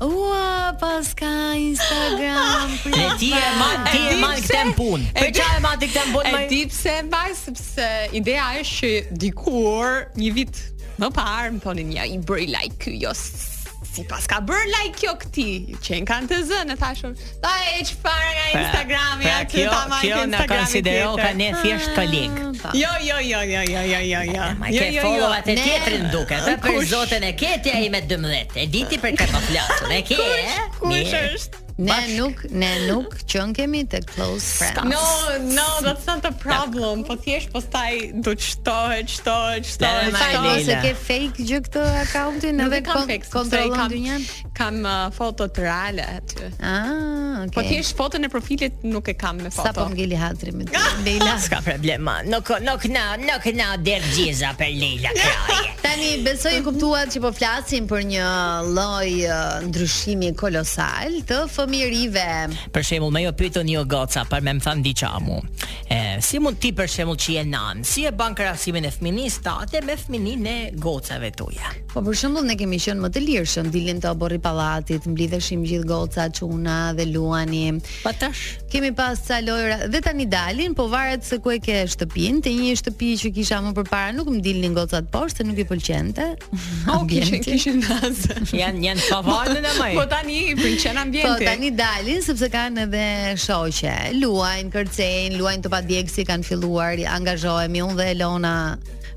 Speaker 8: Ua, pas ka Instagram.
Speaker 7: <laughs>
Speaker 9: Ne ti e man, ti e
Speaker 7: di
Speaker 9: man
Speaker 7: pse?
Speaker 9: këtë më punë.
Speaker 7: E
Speaker 9: Për
Speaker 7: di-
Speaker 9: qa e man ti këtë më punë,
Speaker 7: Ah, E
Speaker 9: <laughs> ma i?
Speaker 7: di pse mbaj sepse ideja është që dikur një vit më parë më thonin ja i bëri like ky jo s- si pas ka bërë like kjo këti që në kanë të zënë e thashëm ta e që fara nga Instagrami
Speaker 9: Pra,
Speaker 7: aty
Speaker 9: kjo,
Speaker 7: ta majtë
Speaker 9: kjo na
Speaker 7: Instagrami
Speaker 9: konsidero
Speaker 7: tjetër."
Speaker 9: ka ne thjesht kolik.
Speaker 8: Pa.
Speaker 7: jo jo jo jo jo jo jo jo
Speaker 9: Ma
Speaker 7: jo
Speaker 9: ke
Speaker 7: jo jo
Speaker 9: follow atë
Speaker 8: Ne-
Speaker 9: tjetrin duket, e për
Speaker 7: Kush?
Speaker 9: zotën e ketja i me 12. E diti për këtë
Speaker 7: <laughs>
Speaker 9: po flasun. E ke, e?
Speaker 7: kush
Speaker 9: Mirë.
Speaker 7: është
Speaker 8: Ne nuk, ne nuk qënë kemi të close friends.
Speaker 7: No, no, that's not the problem. Po thjesht postaj do të shtohet, shtohet,
Speaker 9: Ne,
Speaker 7: shtohet.
Speaker 9: ma,
Speaker 8: Sa
Speaker 9: Leila.
Speaker 7: shtohet.
Speaker 8: ose ke fake gjë këtë akauntin
Speaker 7: Nuk
Speaker 8: edhe
Speaker 7: e kam
Speaker 8: kon-
Speaker 7: fix,
Speaker 8: kontrollon
Speaker 7: kam,
Speaker 8: dynjan?
Speaker 7: kam uh, fotot reale aty.
Speaker 8: Ah, okay.
Speaker 7: Po thjesht foton e profilit nuk e kam me
Speaker 8: Sa po
Speaker 7: foto.
Speaker 8: ngeli hatri <laughs> me ty, Leila.
Speaker 9: <laughs> S'ka problema. Nuk nuk na nuk na der gjiza për Leila Kraje.
Speaker 8: Tani besoj e kuptuat që po flasim për një lloj ë, ndryshimi kolosal të fëmijërive.
Speaker 9: <laughs> Për shembull, më jo pyetën një goca për me më thënë diçka mu. E, si mund ti për shembull që je nan, si e bën krahasimin e fëminisë tate me fëminin e gocave tuaja?
Speaker 8: Po për shembull ne kemi qenë më të lirshëm, dilnim te oborri pallatit, mblidheshim gjithë goca, çuna dhe luani.
Speaker 9: Pa tash.
Speaker 8: Kemi pas ca lojra dhe tani dalin, po varet se ku e ke shtëpinë. Te një shtëpi që kisha më përpara nuk më dilnin gocat poshtë, se nuk i <laughs> pëlqente.
Speaker 7: Po kishin
Speaker 8: ambienti.
Speaker 7: kishin nazë.
Speaker 9: Jan janë pavarën e më. <laughs>
Speaker 7: Po tani i pëlqen
Speaker 8: Po
Speaker 7: ambienti.
Speaker 8: tani dalin sepse kanë edhe shoqe. Luajn, kërcejn, luajn të padjegësi kanë filluar, angazhohemi unë dhe Elona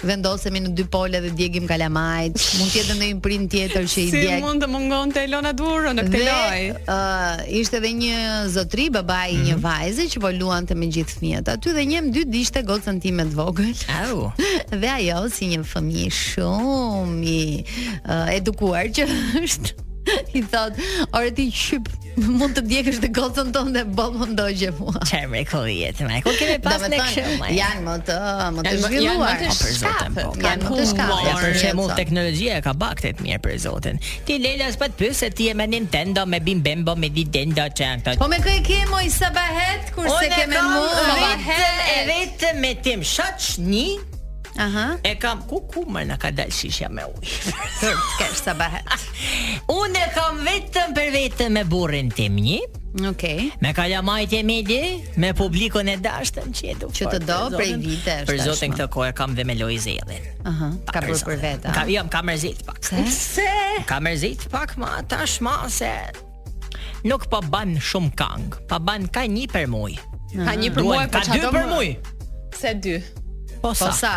Speaker 8: vendosemi në dy pole dhe djegim kalamajt. Mund të jetë ndonjë prind tjetër që i
Speaker 7: si
Speaker 8: djeg.
Speaker 7: mund të mungon të Elona Duro në këtë
Speaker 8: Dhe
Speaker 7: lojë?
Speaker 8: uh, ishte edhe një zotri, babai i
Speaker 7: Mhm.
Speaker 8: një vajze që po luante me gjithë fëmijët. Aty dhe njem dy dishte gocën time të vogël.
Speaker 9: Au.
Speaker 8: <laughs> Dhe ajo si një fëmijë shumë i uh, edukuar që <laughs> është i thot, "Ore ti qyp, mund të vdjekësh të gocën tonë dhe boll më ndogje mua."
Speaker 9: Çe mrekulli jetë, më. Ku kemi pas
Speaker 8: Domethënë,
Speaker 9: ne kështu?
Speaker 8: janë më të më të
Speaker 7: Janë më- janë më
Speaker 8: zhvilluar.
Speaker 7: të
Speaker 8: Po, për zotin, po.
Speaker 7: shkafët,
Speaker 8: Janë më të
Speaker 7: kanë
Speaker 8: shkafët.
Speaker 7: humor.
Speaker 9: Ja, për
Speaker 8: Janë
Speaker 9: shembull
Speaker 8: sot.
Speaker 9: teknologjia e ka baktet mirë për zotin. Ti Leila s'pat pyes se ti je me Nintendo, me Bim Bembo, me Nintendo çan këto.
Speaker 8: Po me kë e ke moj sabahet kurse
Speaker 9: Unë
Speaker 8: ke me
Speaker 9: kam
Speaker 8: mu
Speaker 9: vetëm e
Speaker 8: sabahet.
Speaker 9: vetëm me tim shoqni
Speaker 8: Aha,
Speaker 9: e kam ku ku më na ka dalë shisha me
Speaker 8: <laughs>
Speaker 9: ujë.
Speaker 8: të kesh sabahet.
Speaker 9: Unë e kam vetëm për vetëm me burrin tim një,
Speaker 8: Okej.
Speaker 9: me kalamajt e mi di, me publikun e dashtëm që e du
Speaker 8: Që të
Speaker 9: fort,
Speaker 8: do
Speaker 9: për
Speaker 8: prej
Speaker 9: zotin.
Speaker 8: vitesh
Speaker 9: Për zotin
Speaker 8: tashmë.
Speaker 9: këtë kohë e kam dhe me Loizelin.
Speaker 8: Aha,
Speaker 9: Pa,
Speaker 8: ka bërë
Speaker 9: zotin.
Speaker 8: për vetë. a?
Speaker 9: Ka, jo, më ka mërzit pak.
Speaker 8: Pse?
Speaker 9: Ka mërzit pak ma tash ma se nuk po ban shumë kang, po ban ka një për muj.
Speaker 7: Ka një për muaj,
Speaker 9: Duan,
Speaker 7: po
Speaker 9: ka
Speaker 7: çfarë
Speaker 9: dy
Speaker 7: do
Speaker 9: për
Speaker 7: më?
Speaker 9: muj.
Speaker 7: Se dy.
Speaker 9: Po
Speaker 8: Po
Speaker 9: sa?
Speaker 8: sa?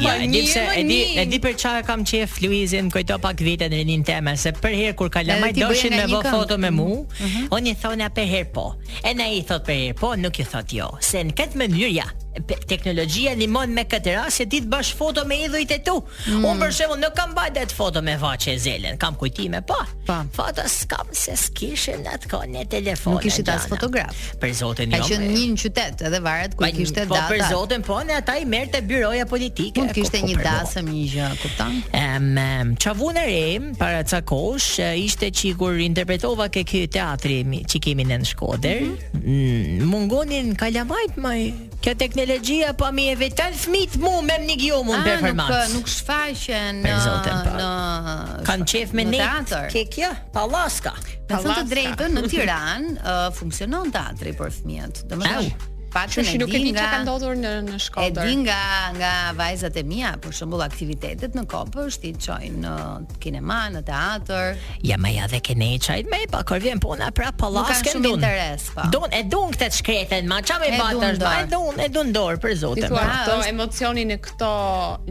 Speaker 9: Ja, e di
Speaker 7: një,
Speaker 9: pse,
Speaker 7: më
Speaker 9: e di,
Speaker 7: një.
Speaker 9: e di për çfarë kam qef Luizin, kujto pak vite në rinin teme, se për herë kur kalamaj
Speaker 8: Edhe ti bëje
Speaker 9: doshin
Speaker 8: nga
Speaker 9: me
Speaker 8: një
Speaker 9: vë
Speaker 8: këngë. Mhm,
Speaker 9: foto me mu, unë i thona për herë po. E na i thot për herë po, nuk i thot jo, se në këtë mënyrë ja. pe- Teknologjia ndihmon me këtë rast se ti të bash foto me idhujt e tu.
Speaker 8: Mm.
Speaker 9: Unë për shembull nuk kam bërë det foto me vaçe e zelen, kam kujtime pa.
Speaker 8: Pa.
Speaker 9: Foto s'kam se s'kishin atë në telefon.
Speaker 8: Po. Nuk ishit as fotograf.
Speaker 9: Për zotin
Speaker 8: Ka
Speaker 9: jo.
Speaker 8: qenë
Speaker 9: me-
Speaker 8: një në qytet edhe varet ku
Speaker 9: Pa,
Speaker 8: i kishte
Speaker 9: po, për
Speaker 8: data.
Speaker 9: zotin po, ne ata i merrte byroja politike.
Speaker 8: Mund
Speaker 9: ku-
Speaker 8: kishte
Speaker 9: ku po,
Speaker 8: një
Speaker 9: për mua.
Speaker 8: dasëm një gjë, kupton?
Speaker 9: Em, em, çavun e re para ca kohësh e, ishte që kur interpretova ke ky teatri mi- që kemi ne në Shkodër,
Speaker 8: Mhm.
Speaker 9: mm, mungonin kalamajt më kjo teknologjia po mi e vetan fëmit mu me më një mund
Speaker 8: Ah, nuk eh,
Speaker 9: performancë.
Speaker 8: nuk shfaqen
Speaker 9: Per
Speaker 8: në
Speaker 9: zotin, po.
Speaker 8: në
Speaker 9: Kanë qef me
Speaker 8: në
Speaker 9: ne.
Speaker 8: teatr.
Speaker 9: Ke kjo? Pallaska.
Speaker 8: Me thënë të drejtën, në Tiranë uh, funksionon eh, teatri për fëmijët.
Speaker 9: Au.
Speaker 8: Domethënë Faktën
Speaker 7: Kështu
Speaker 8: e
Speaker 7: që nuk e
Speaker 8: di
Speaker 7: di
Speaker 8: nga
Speaker 7: çka ka ndodhur në në
Speaker 8: E
Speaker 7: Shkodër.
Speaker 8: di nga nga vajzat e mia, për shembull aktivitetet në kopësht i çojnë në kinema, në teatr.
Speaker 9: Ja më ja dhe kene i çajt me, pa kur vjen puna pra po prap
Speaker 8: Nuk
Speaker 9: pallaskën
Speaker 8: kanë shumë interes, po.
Speaker 9: Don e don këtë të shkreten, ma çfarë
Speaker 8: E
Speaker 9: më
Speaker 8: dun
Speaker 9: bën tash?
Speaker 8: dorë.
Speaker 9: Ma e don, e don dorë për
Speaker 7: Ti
Speaker 9: zotin. Pra,
Speaker 7: thua
Speaker 9: ma.
Speaker 7: këto emocionin e këto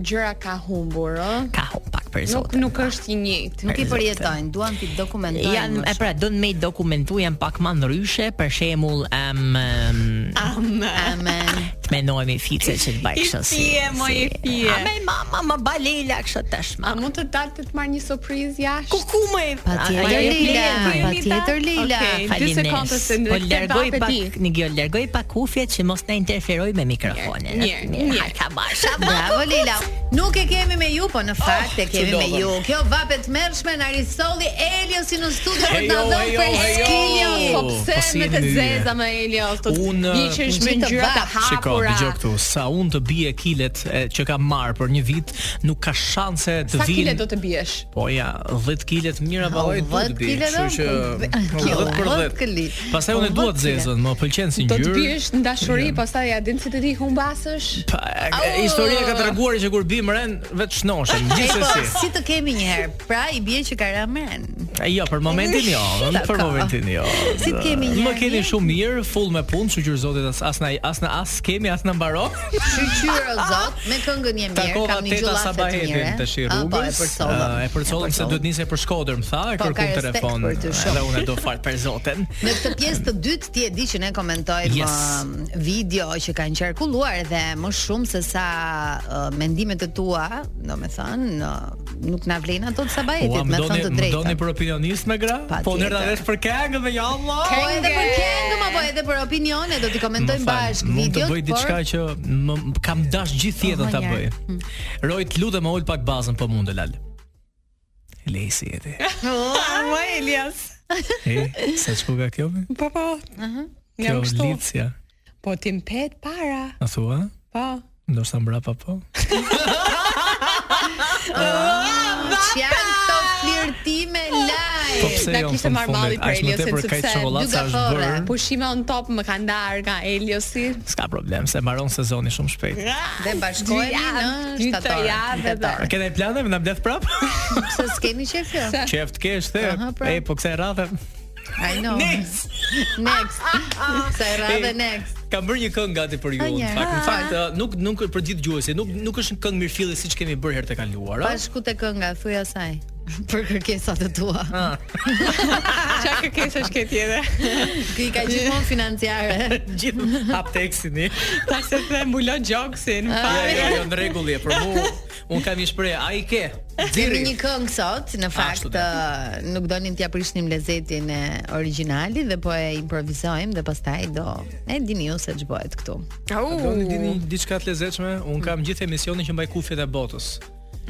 Speaker 7: gjëra ka humbur, ë?
Speaker 9: Ka hum pak për
Speaker 7: Nuk
Speaker 9: zotin.
Speaker 7: nuk është i njëjtë.
Speaker 8: Nuk i
Speaker 9: Për
Speaker 8: përjetojnë, duan ti dokumentojnë.
Speaker 9: Janë,
Speaker 8: më
Speaker 9: e pra, don me i dokumentu janë pak më ndryshe, për shembull, em, em,
Speaker 8: shumë. Amen.
Speaker 9: të mendojmë i fice që të bëj
Speaker 7: I
Speaker 9: kështu si.
Speaker 7: fije, mo, i fije.
Speaker 9: A me mama më balela kështu tash
Speaker 7: A
Speaker 9: më.
Speaker 7: mund të dalë të të marr një surprizë jashtë?
Speaker 9: Ku ku më?
Speaker 8: Patjetër
Speaker 7: Ai e
Speaker 8: jo, Leila,
Speaker 7: flet,
Speaker 8: patjetër Leila.
Speaker 7: Okej. dy sekonda se në
Speaker 9: po
Speaker 7: këtë
Speaker 9: largoj
Speaker 7: vape
Speaker 9: pak,
Speaker 7: di.
Speaker 9: Nigjo, largoj pak kufjet që mos na interferoj me mikrofonin.
Speaker 7: Mirë, mirë.
Speaker 9: hajde, ka basha. <laughs>
Speaker 8: Bravo Leila. Nuk e kemi me ju, po në
Speaker 9: Oh,
Speaker 8: fakt e kemi me ju. Kjo vapet mërshme na risolli Eliosi në studio për të
Speaker 10: Hejo,
Speaker 8: dhënë
Speaker 10: hejo,
Speaker 8: për
Speaker 10: hejo.
Speaker 8: skilin.
Speaker 7: Po pse
Speaker 10: Po si
Speaker 7: me
Speaker 10: jeni
Speaker 7: të
Speaker 10: mirë.
Speaker 7: zeza me Elios, të
Speaker 10: Unë,
Speaker 7: hiqesh
Speaker 8: unë
Speaker 7: me
Speaker 8: si të
Speaker 7: gjëra të
Speaker 8: bap.
Speaker 10: Shiko,
Speaker 7: hapura.
Speaker 10: dëgjoj këtu, sa unë të bie kilet e, që kam marr për një vit, nuk ka shanse të
Speaker 7: Sa kile
Speaker 10: vinë.
Speaker 7: do të biesh?
Speaker 10: Po ja, 10 kilet mira vallai
Speaker 8: Po, 10
Speaker 10: duhet bi.
Speaker 8: kile do,
Speaker 10: Kështu që
Speaker 8: po,
Speaker 10: po, 10 për
Speaker 8: 10 kili.
Speaker 10: 10. Pastaj unë e
Speaker 8: Po,
Speaker 10: dua
Speaker 8: 10
Speaker 10: të
Speaker 8: kile.
Speaker 10: zezën, më pëlqen si
Speaker 7: Do të
Speaker 10: ngjyrë.
Speaker 7: biesh në dashuri, pastaj ja din se të ti humbasësh.
Speaker 10: Pa, e- e- Historia ka treguar që kur bim ren vetë
Speaker 7: <laughs>
Speaker 10: shnoshem,
Speaker 8: E, po,
Speaker 10: gjithsesi.
Speaker 8: si të kemi një herë. Pra i bie që ka ramen.
Speaker 10: E, Jo, për momentin jo,
Speaker 7: <laughs>
Speaker 10: për
Speaker 8: Tako.
Speaker 10: momentin jo.
Speaker 8: Si të kemi një
Speaker 10: Më
Speaker 8: herë
Speaker 10: keni
Speaker 8: mirë?
Speaker 10: shumë mirë, full me punë, kështu që zotit as as na as na as kemi as na mbaron.
Speaker 8: Shqyr o zot, me këngën je mirë,
Speaker 10: Takova
Speaker 8: kam një
Speaker 10: Teta
Speaker 8: gjullafe të
Speaker 10: Sabahetin
Speaker 8: mire.
Speaker 10: tash i
Speaker 8: A, po,
Speaker 10: rrugës.
Speaker 8: E përsollëm.
Speaker 10: Ah, E përcollëm se duhet nisej për Shkodër, më tha, e
Speaker 8: Po, ka
Speaker 10: kërkon
Speaker 8: respekt
Speaker 10: telefon.
Speaker 8: për ty shumë.
Speaker 10: Edhe unë e do fal për zotin.
Speaker 8: Në këtë pjesë të dytë ti e di që ne komentojmë
Speaker 10: Yes.
Speaker 8: yes. video që kanë qarkulluar dhe më shumë se sa uh, mendimet e tua, domethënë, uh, nuk na vlen ato të
Speaker 10: Ua,
Speaker 8: sabahetit,
Speaker 10: më
Speaker 8: me
Speaker 10: doni,
Speaker 8: thënë të
Speaker 10: më doni
Speaker 8: drejtën.
Speaker 10: për opinionist me gra?
Speaker 8: Pa
Speaker 10: Po nërta
Speaker 8: tjetër.
Speaker 10: vesh për këngë dhe ja Allah.
Speaker 8: Po edhe për këngë, po edhe për opinione do t'i
Speaker 10: Më
Speaker 8: komentojmë
Speaker 10: fal,
Speaker 8: bashk
Speaker 10: mund të
Speaker 8: videot,
Speaker 10: bëj diçka që më më kam dash gjithë jetën
Speaker 8: Oh,
Speaker 10: ta
Speaker 8: ja.
Speaker 10: bëj. Rojt, lutem, më ul pak bazën, po mund të lal. Lejsi
Speaker 8: <laughs>
Speaker 10: jeti.
Speaker 7: Po Elias.
Speaker 10: E, sa çuga kjo? be?
Speaker 7: Po po.
Speaker 10: Kjo
Speaker 7: Jam kështu.
Speaker 10: Licia.
Speaker 7: Po ti mpet para.
Speaker 10: A thua?
Speaker 7: Po.
Speaker 10: Ndoshta mbrapa po.
Speaker 8: që janë këto flirtime live.
Speaker 10: Po pse
Speaker 7: Na
Speaker 10: jo? në
Speaker 7: kishte
Speaker 10: fund
Speaker 7: marrë malli
Speaker 10: fundit,
Speaker 7: për
Speaker 10: aq më
Speaker 7: Eliosin,
Speaker 10: tepër kaq
Speaker 7: sepse
Speaker 10: çokoladë sa është
Speaker 8: dugafore.
Speaker 10: bërë.
Speaker 7: Pushime on top më ka ndarë nga Eliosi.
Speaker 10: <laughs> S'ka problem, se mbaron sezoni shumë shpejt.
Speaker 8: Dhe bashkohemi në
Speaker 7: Dy javë, dy të
Speaker 8: shtator.
Speaker 7: javë
Speaker 8: në shtator.
Speaker 10: A kena i plane me na mbledh prap?
Speaker 8: Pse s'keni qef jo?
Speaker 10: Qeft kesh the.
Speaker 8: Aha, prap.
Speaker 10: E, po kësaj radhe
Speaker 8: I know. Next. <laughs> next. Sa e radhe next.
Speaker 10: kam bërë një këngë gati për ju.
Speaker 8: A,
Speaker 10: Në
Speaker 8: një.
Speaker 10: fakt, në fakt ë, nuk nuk për gjithë gjuhësit, nuk nuk është një këngë mirëfillë siç kemi bërë herë të kaluara.
Speaker 8: Bashku te kënga, thuj asaj. <laughs> Për kërkesat e tua.
Speaker 7: Ah. Çka kërkesash ke tjetër?
Speaker 8: Ti
Speaker 7: <laughs>
Speaker 8: ka gjithmonë financiare.
Speaker 10: <laughs> Gjithë hap tekstin.
Speaker 7: Ta se the mbulon gjoksin.
Speaker 10: Ja, ja, jo, në rregull je, për mua un kam një shpreh, ai ke.
Speaker 8: Kemi
Speaker 10: Xhiri.
Speaker 8: një këngë sot, në fakt
Speaker 10: Ashtu dhe.
Speaker 8: ë, nuk donin t'ja prishnim lezetin e originalit dhe po e improvisojmë dhe pastaj do e dini ju se ç'bëhet këtu.
Speaker 10: Do të dini diçka të lezetshme, un kam gjithë emisionin që mbaj kufjet e botës.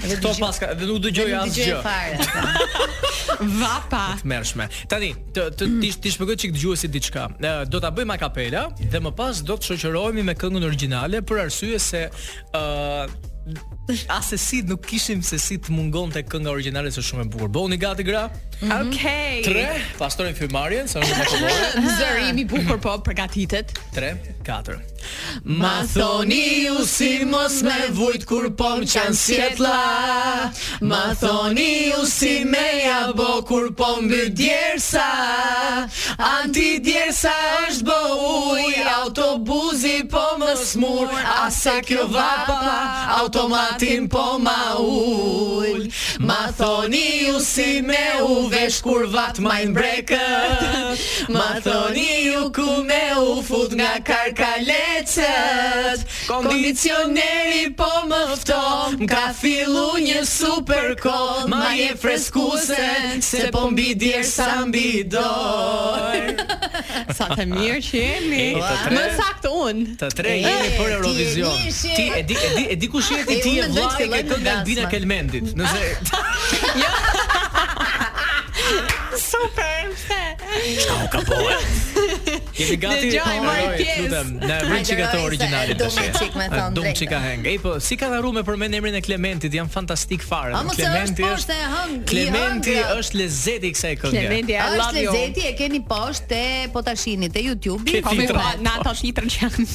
Speaker 10: Kto paska, dhe nuk dëgjoj
Speaker 8: Nuk
Speaker 10: asgjë.
Speaker 8: dëgjoj fare.
Speaker 7: Vapa.
Speaker 10: të mërshme. Tani, të të ti ti shpjegoj çik dëgjuesit diçka. Ë, Do ta bëjmë a cappella dhe më pas do të shoqërohemi me këngën origjinale për arsye se ë asesi nuk kishim se si të mungonte kënga origjinale se shumë e bukur. Bëuni gati gra?
Speaker 7: Mhm. Okej.
Speaker 10: 3, pastrojmë frymarrjen, sa po është më kohë.
Speaker 7: Zërim i bukur po përgatitet.
Speaker 10: 3, 4.
Speaker 7: Ma thoni ju si mos me vujt kur po më qanë sjetla Ma thoni ju si me ja bo kur po më byt djersa Anti djersa është bo uj Autobuzi po më smur Asa kjo vapa Automatin po ma ull Ma thoni ju si me u vesh kur vat majnë brekët Ma thoni ju ku me u fut nga karkalecet Kondicioneri po më fton M'ka fillu një super kod Ma je freskuse Se po mbi djerë sa mbi dorë Sa
Speaker 10: <laughs>
Speaker 7: të mirë që jemi
Speaker 10: E, të tre. Më
Speaker 7: saktë unë
Speaker 10: <laughs> Të tre jemi për Eurovision.
Speaker 8: ti e nishe.
Speaker 10: Ti e di e di e di kush je ti
Speaker 8: E,
Speaker 10: ti e
Speaker 8: unë mendoj të
Speaker 10: vllai ke
Speaker 8: filloj me
Speaker 10: këngën
Speaker 8: dasma.
Speaker 10: Albina Kelmendit. Nëse
Speaker 7: Super, pse?
Speaker 8: <laughs>
Speaker 10: Au ka po. e. Po, Jemi gati.
Speaker 7: Dëgjoj,
Speaker 10: Oj,
Speaker 7: marr pjesë.
Speaker 10: lutem, na vrin
Speaker 8: Hajde,
Speaker 10: çika të
Speaker 8: Roy, se
Speaker 10: originalit
Speaker 8: dum
Speaker 10: tash. Ah,
Speaker 8: e qik me thonë
Speaker 10: Dum
Speaker 8: drejtën.
Speaker 10: çika heng. Ej, po si ka dharu me përmend emrin e Clementit, janë fantastik fare.
Speaker 8: A, mos e është poshtë e hëng- i
Speaker 10: Clementi
Speaker 8: hëngra.
Speaker 10: është lezeti i kësaj këngë.
Speaker 7: Clementi, I
Speaker 8: Është
Speaker 7: love you.
Speaker 8: lezeti e keni poshtë te potashini te YouTube-i.
Speaker 10: Ke
Speaker 7: Po mi
Speaker 10: Titrën.
Speaker 7: pa, na ato titrën që janë.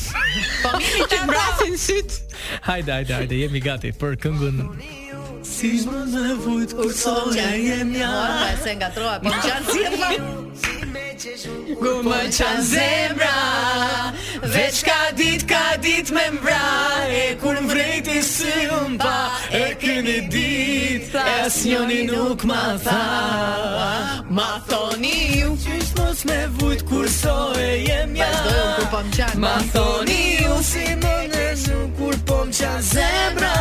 Speaker 7: Po mi që mbrasin syt.
Speaker 10: Hajde, hajde, hajde, jemi gati për këngën. Si më në vujt kur soja jem ja
Speaker 8: Ora, se ngatrova, po më qanë si e më
Speaker 10: Ku më
Speaker 8: qanë zemra Veç ka dit, ka dit me mbra E kur më vrejti si unë pa E këni dit As njoni nuk ma tha Ma thoni ju Qysh mos me vujt kur so e jem ja Vazhdoj unë kur po më qanë Ma thoni ju si më nëshu kur po më qanë zemra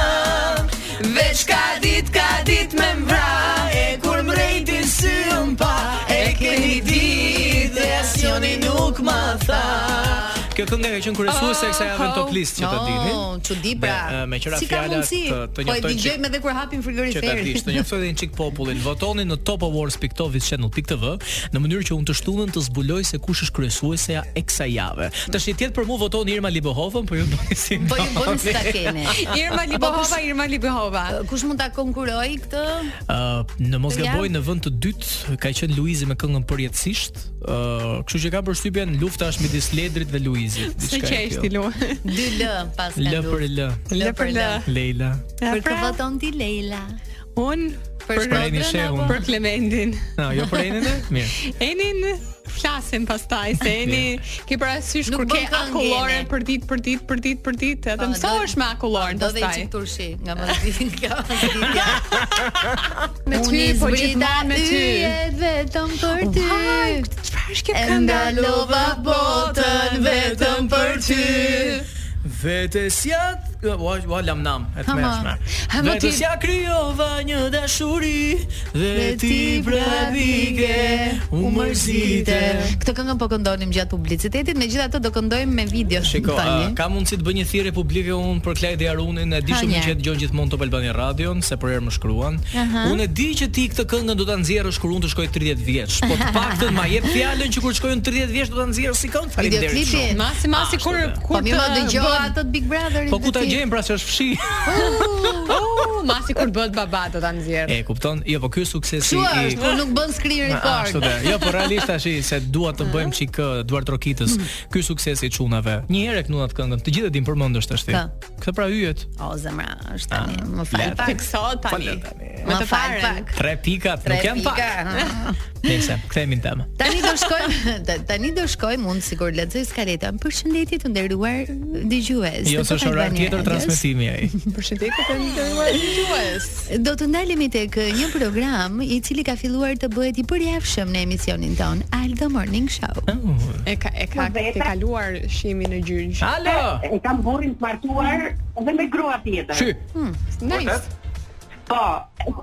Speaker 8: Veç ka dit, ka dit me mbra E kur më rejti si unë pa E këni dit Dhe asjoni nuk ma tha
Speaker 10: Kjo kënga ka qenë kuriozuese e kësaj javën top list që ta dini.
Speaker 8: çudi Oh, pra.
Speaker 10: Me, e, me qëra
Speaker 8: si ka
Speaker 10: fjala
Speaker 8: mundsi?
Speaker 10: të- të
Speaker 8: Po e
Speaker 10: njoftoj
Speaker 8: dëgjojmë
Speaker 10: që-
Speaker 8: edhe kur hapim
Speaker 10: që ta
Speaker 8: frigoriferin.
Speaker 10: dish,
Speaker 8: <laughs>
Speaker 10: të njoftoj edhe një çik popullin. Votoni në topawards.tovichannel.tv në mënyrë që unë të shtunën të zbuloj se kush është kryesuesja e kësaj jave. Tash i tjetër për mua votoni Irma Libohovën, po ju <laughs> bëni si.
Speaker 8: Po ju
Speaker 10: <laughs>
Speaker 8: bën si ta keni.
Speaker 7: Irma Libohova, Irma Libohova.
Speaker 8: Kush mund ta konkuroj këtë?
Speaker 10: Ë, në mos
Speaker 8: Janë?
Speaker 10: gaboj në vend të dytë ka qenë Luizi me këngën përjetësisht. Ë, kështu që ka përshtypjen lufta është midis Ledrit dhe Luizit.
Speaker 7: Se
Speaker 10: diçka e
Speaker 7: që është i
Speaker 10: tillë.
Speaker 7: lu.
Speaker 8: 2L pas ka
Speaker 10: L për
Speaker 8: luft.
Speaker 10: L.
Speaker 7: Lë për lë.
Speaker 10: Leila.
Speaker 7: Ja,
Speaker 8: Për
Speaker 7: pra,
Speaker 8: të voton ti Leila.
Speaker 7: Un
Speaker 8: Për
Speaker 10: Shprehni
Speaker 8: shkodrën
Speaker 10: shehun.
Speaker 8: apo?
Speaker 7: për Klementin.
Speaker 10: Na, jo për Enën? e? Mirë.
Speaker 7: Enin flasim pastaj se Eni ke parasysh
Speaker 8: Nuk
Speaker 7: kur
Speaker 8: bën
Speaker 7: ke
Speaker 8: këngë,
Speaker 7: akullore
Speaker 8: Eni.
Speaker 7: për ditë për ditë për ditë për ditë,
Speaker 8: Po,
Speaker 7: atë mësohesh
Speaker 8: do- po,
Speaker 7: me akulloren
Speaker 8: Do dhe i
Speaker 7: pastaj.
Speaker 8: qik turshi nga <laughs> mëzdi Nga mëzditja
Speaker 7: Me ty, po gjithmonë me ty.
Speaker 8: vetëm për ty
Speaker 7: Haj, çfarë është kjo
Speaker 8: E
Speaker 7: kënga?
Speaker 8: ndalova botën vetëm për ty
Speaker 10: Vetes ja Ua, ua lam nam E të
Speaker 8: Hama.
Speaker 10: mërshme
Speaker 8: Hama
Speaker 10: Vetes
Speaker 8: ti-
Speaker 10: ja kryova një dashuri Dhe ti prapike U mërzite
Speaker 8: Këtë këngën po këndonim gjatë publicitetit Megjithatë do këndojmë me video
Speaker 10: Shiko, a,
Speaker 8: tani.
Speaker 10: ka mundësi të bëj një thirrje publike unë për Klajdi Arunin, e di
Speaker 8: Ha,
Speaker 10: shumë
Speaker 8: njerë.
Speaker 10: që e dëgjon gjithmonë Top Albani Radion, se për herë më shkruan.
Speaker 8: Aha.
Speaker 10: Unë e di që ti këtë këngën do ta nxjerrësh kur unë të shkoj 30 vjeç, po
Speaker 8: <laughs>
Speaker 10: të paktën ma jep fjalën që kur shkoj unë 30 vjeç do ta nxjerrësh si këngë. Faleminderit
Speaker 8: Videoklipi.
Speaker 10: shumë.
Speaker 7: Masi masi
Speaker 10: Ah,
Speaker 7: kur
Speaker 10: ashtu
Speaker 7: kur
Speaker 8: Po mirë më
Speaker 7: të
Speaker 8: dëgjoj
Speaker 7: bëhet-
Speaker 8: atë të Big Brotherit
Speaker 10: Po ku ta
Speaker 8: të ti.
Speaker 10: gjejmë pra se është fshi?
Speaker 7: Uh, masi kur bëhet baba do ta nxjerr.
Speaker 10: E kupton? Jo, po ky është suksesi
Speaker 8: Kështu
Speaker 10: i
Speaker 8: është, po nuk bën screen
Speaker 10: <laughs> A, Ashtu
Speaker 8: record
Speaker 10: dhe. Jo, po realisht tash se dua të bëjmë çik ë, duar trokitës.
Speaker 8: Mm.
Speaker 10: Ky suksesi i çunave. Një herë e knunat këngën. Të gjithë e din përmendesh tash ti.
Speaker 8: Ka.
Speaker 10: Këtë pra yjet.
Speaker 8: O zemra, është tani,
Speaker 10: Ah,
Speaker 8: më fal
Speaker 10: lart.
Speaker 8: pak
Speaker 7: Teksohet tani. Me
Speaker 8: Më
Speaker 7: të
Speaker 8: fal
Speaker 7: parën.
Speaker 8: pak
Speaker 10: Tre pikat, nuk janë pak.
Speaker 8: pak
Speaker 10: Nëse, kthehemi në temë.
Speaker 8: Tani do shkojmë <laughs> ta- tani do shkojmë unë sigur lexoj skaletën. Përshëndetje të nderuar dëgjues.
Speaker 10: Jo,
Speaker 8: të
Speaker 10: s'është orar
Speaker 8: Albania
Speaker 10: tjetër
Speaker 8: Radios.
Speaker 10: transmetimi ai.
Speaker 7: Përshëndetje të nderuar dëgjues.
Speaker 8: Do të ndalemi tek një program i cili ka filluar të bëhet i përjavshëm në emisionin ton Aldo Morning Show.
Speaker 7: E ka e ka ke kaluar shimin në gjyq.
Speaker 10: Alo.
Speaker 2: E kam burrin të martuar dhe me grua tjetër.
Speaker 10: Shy.
Speaker 7: Nice.
Speaker 2: Po,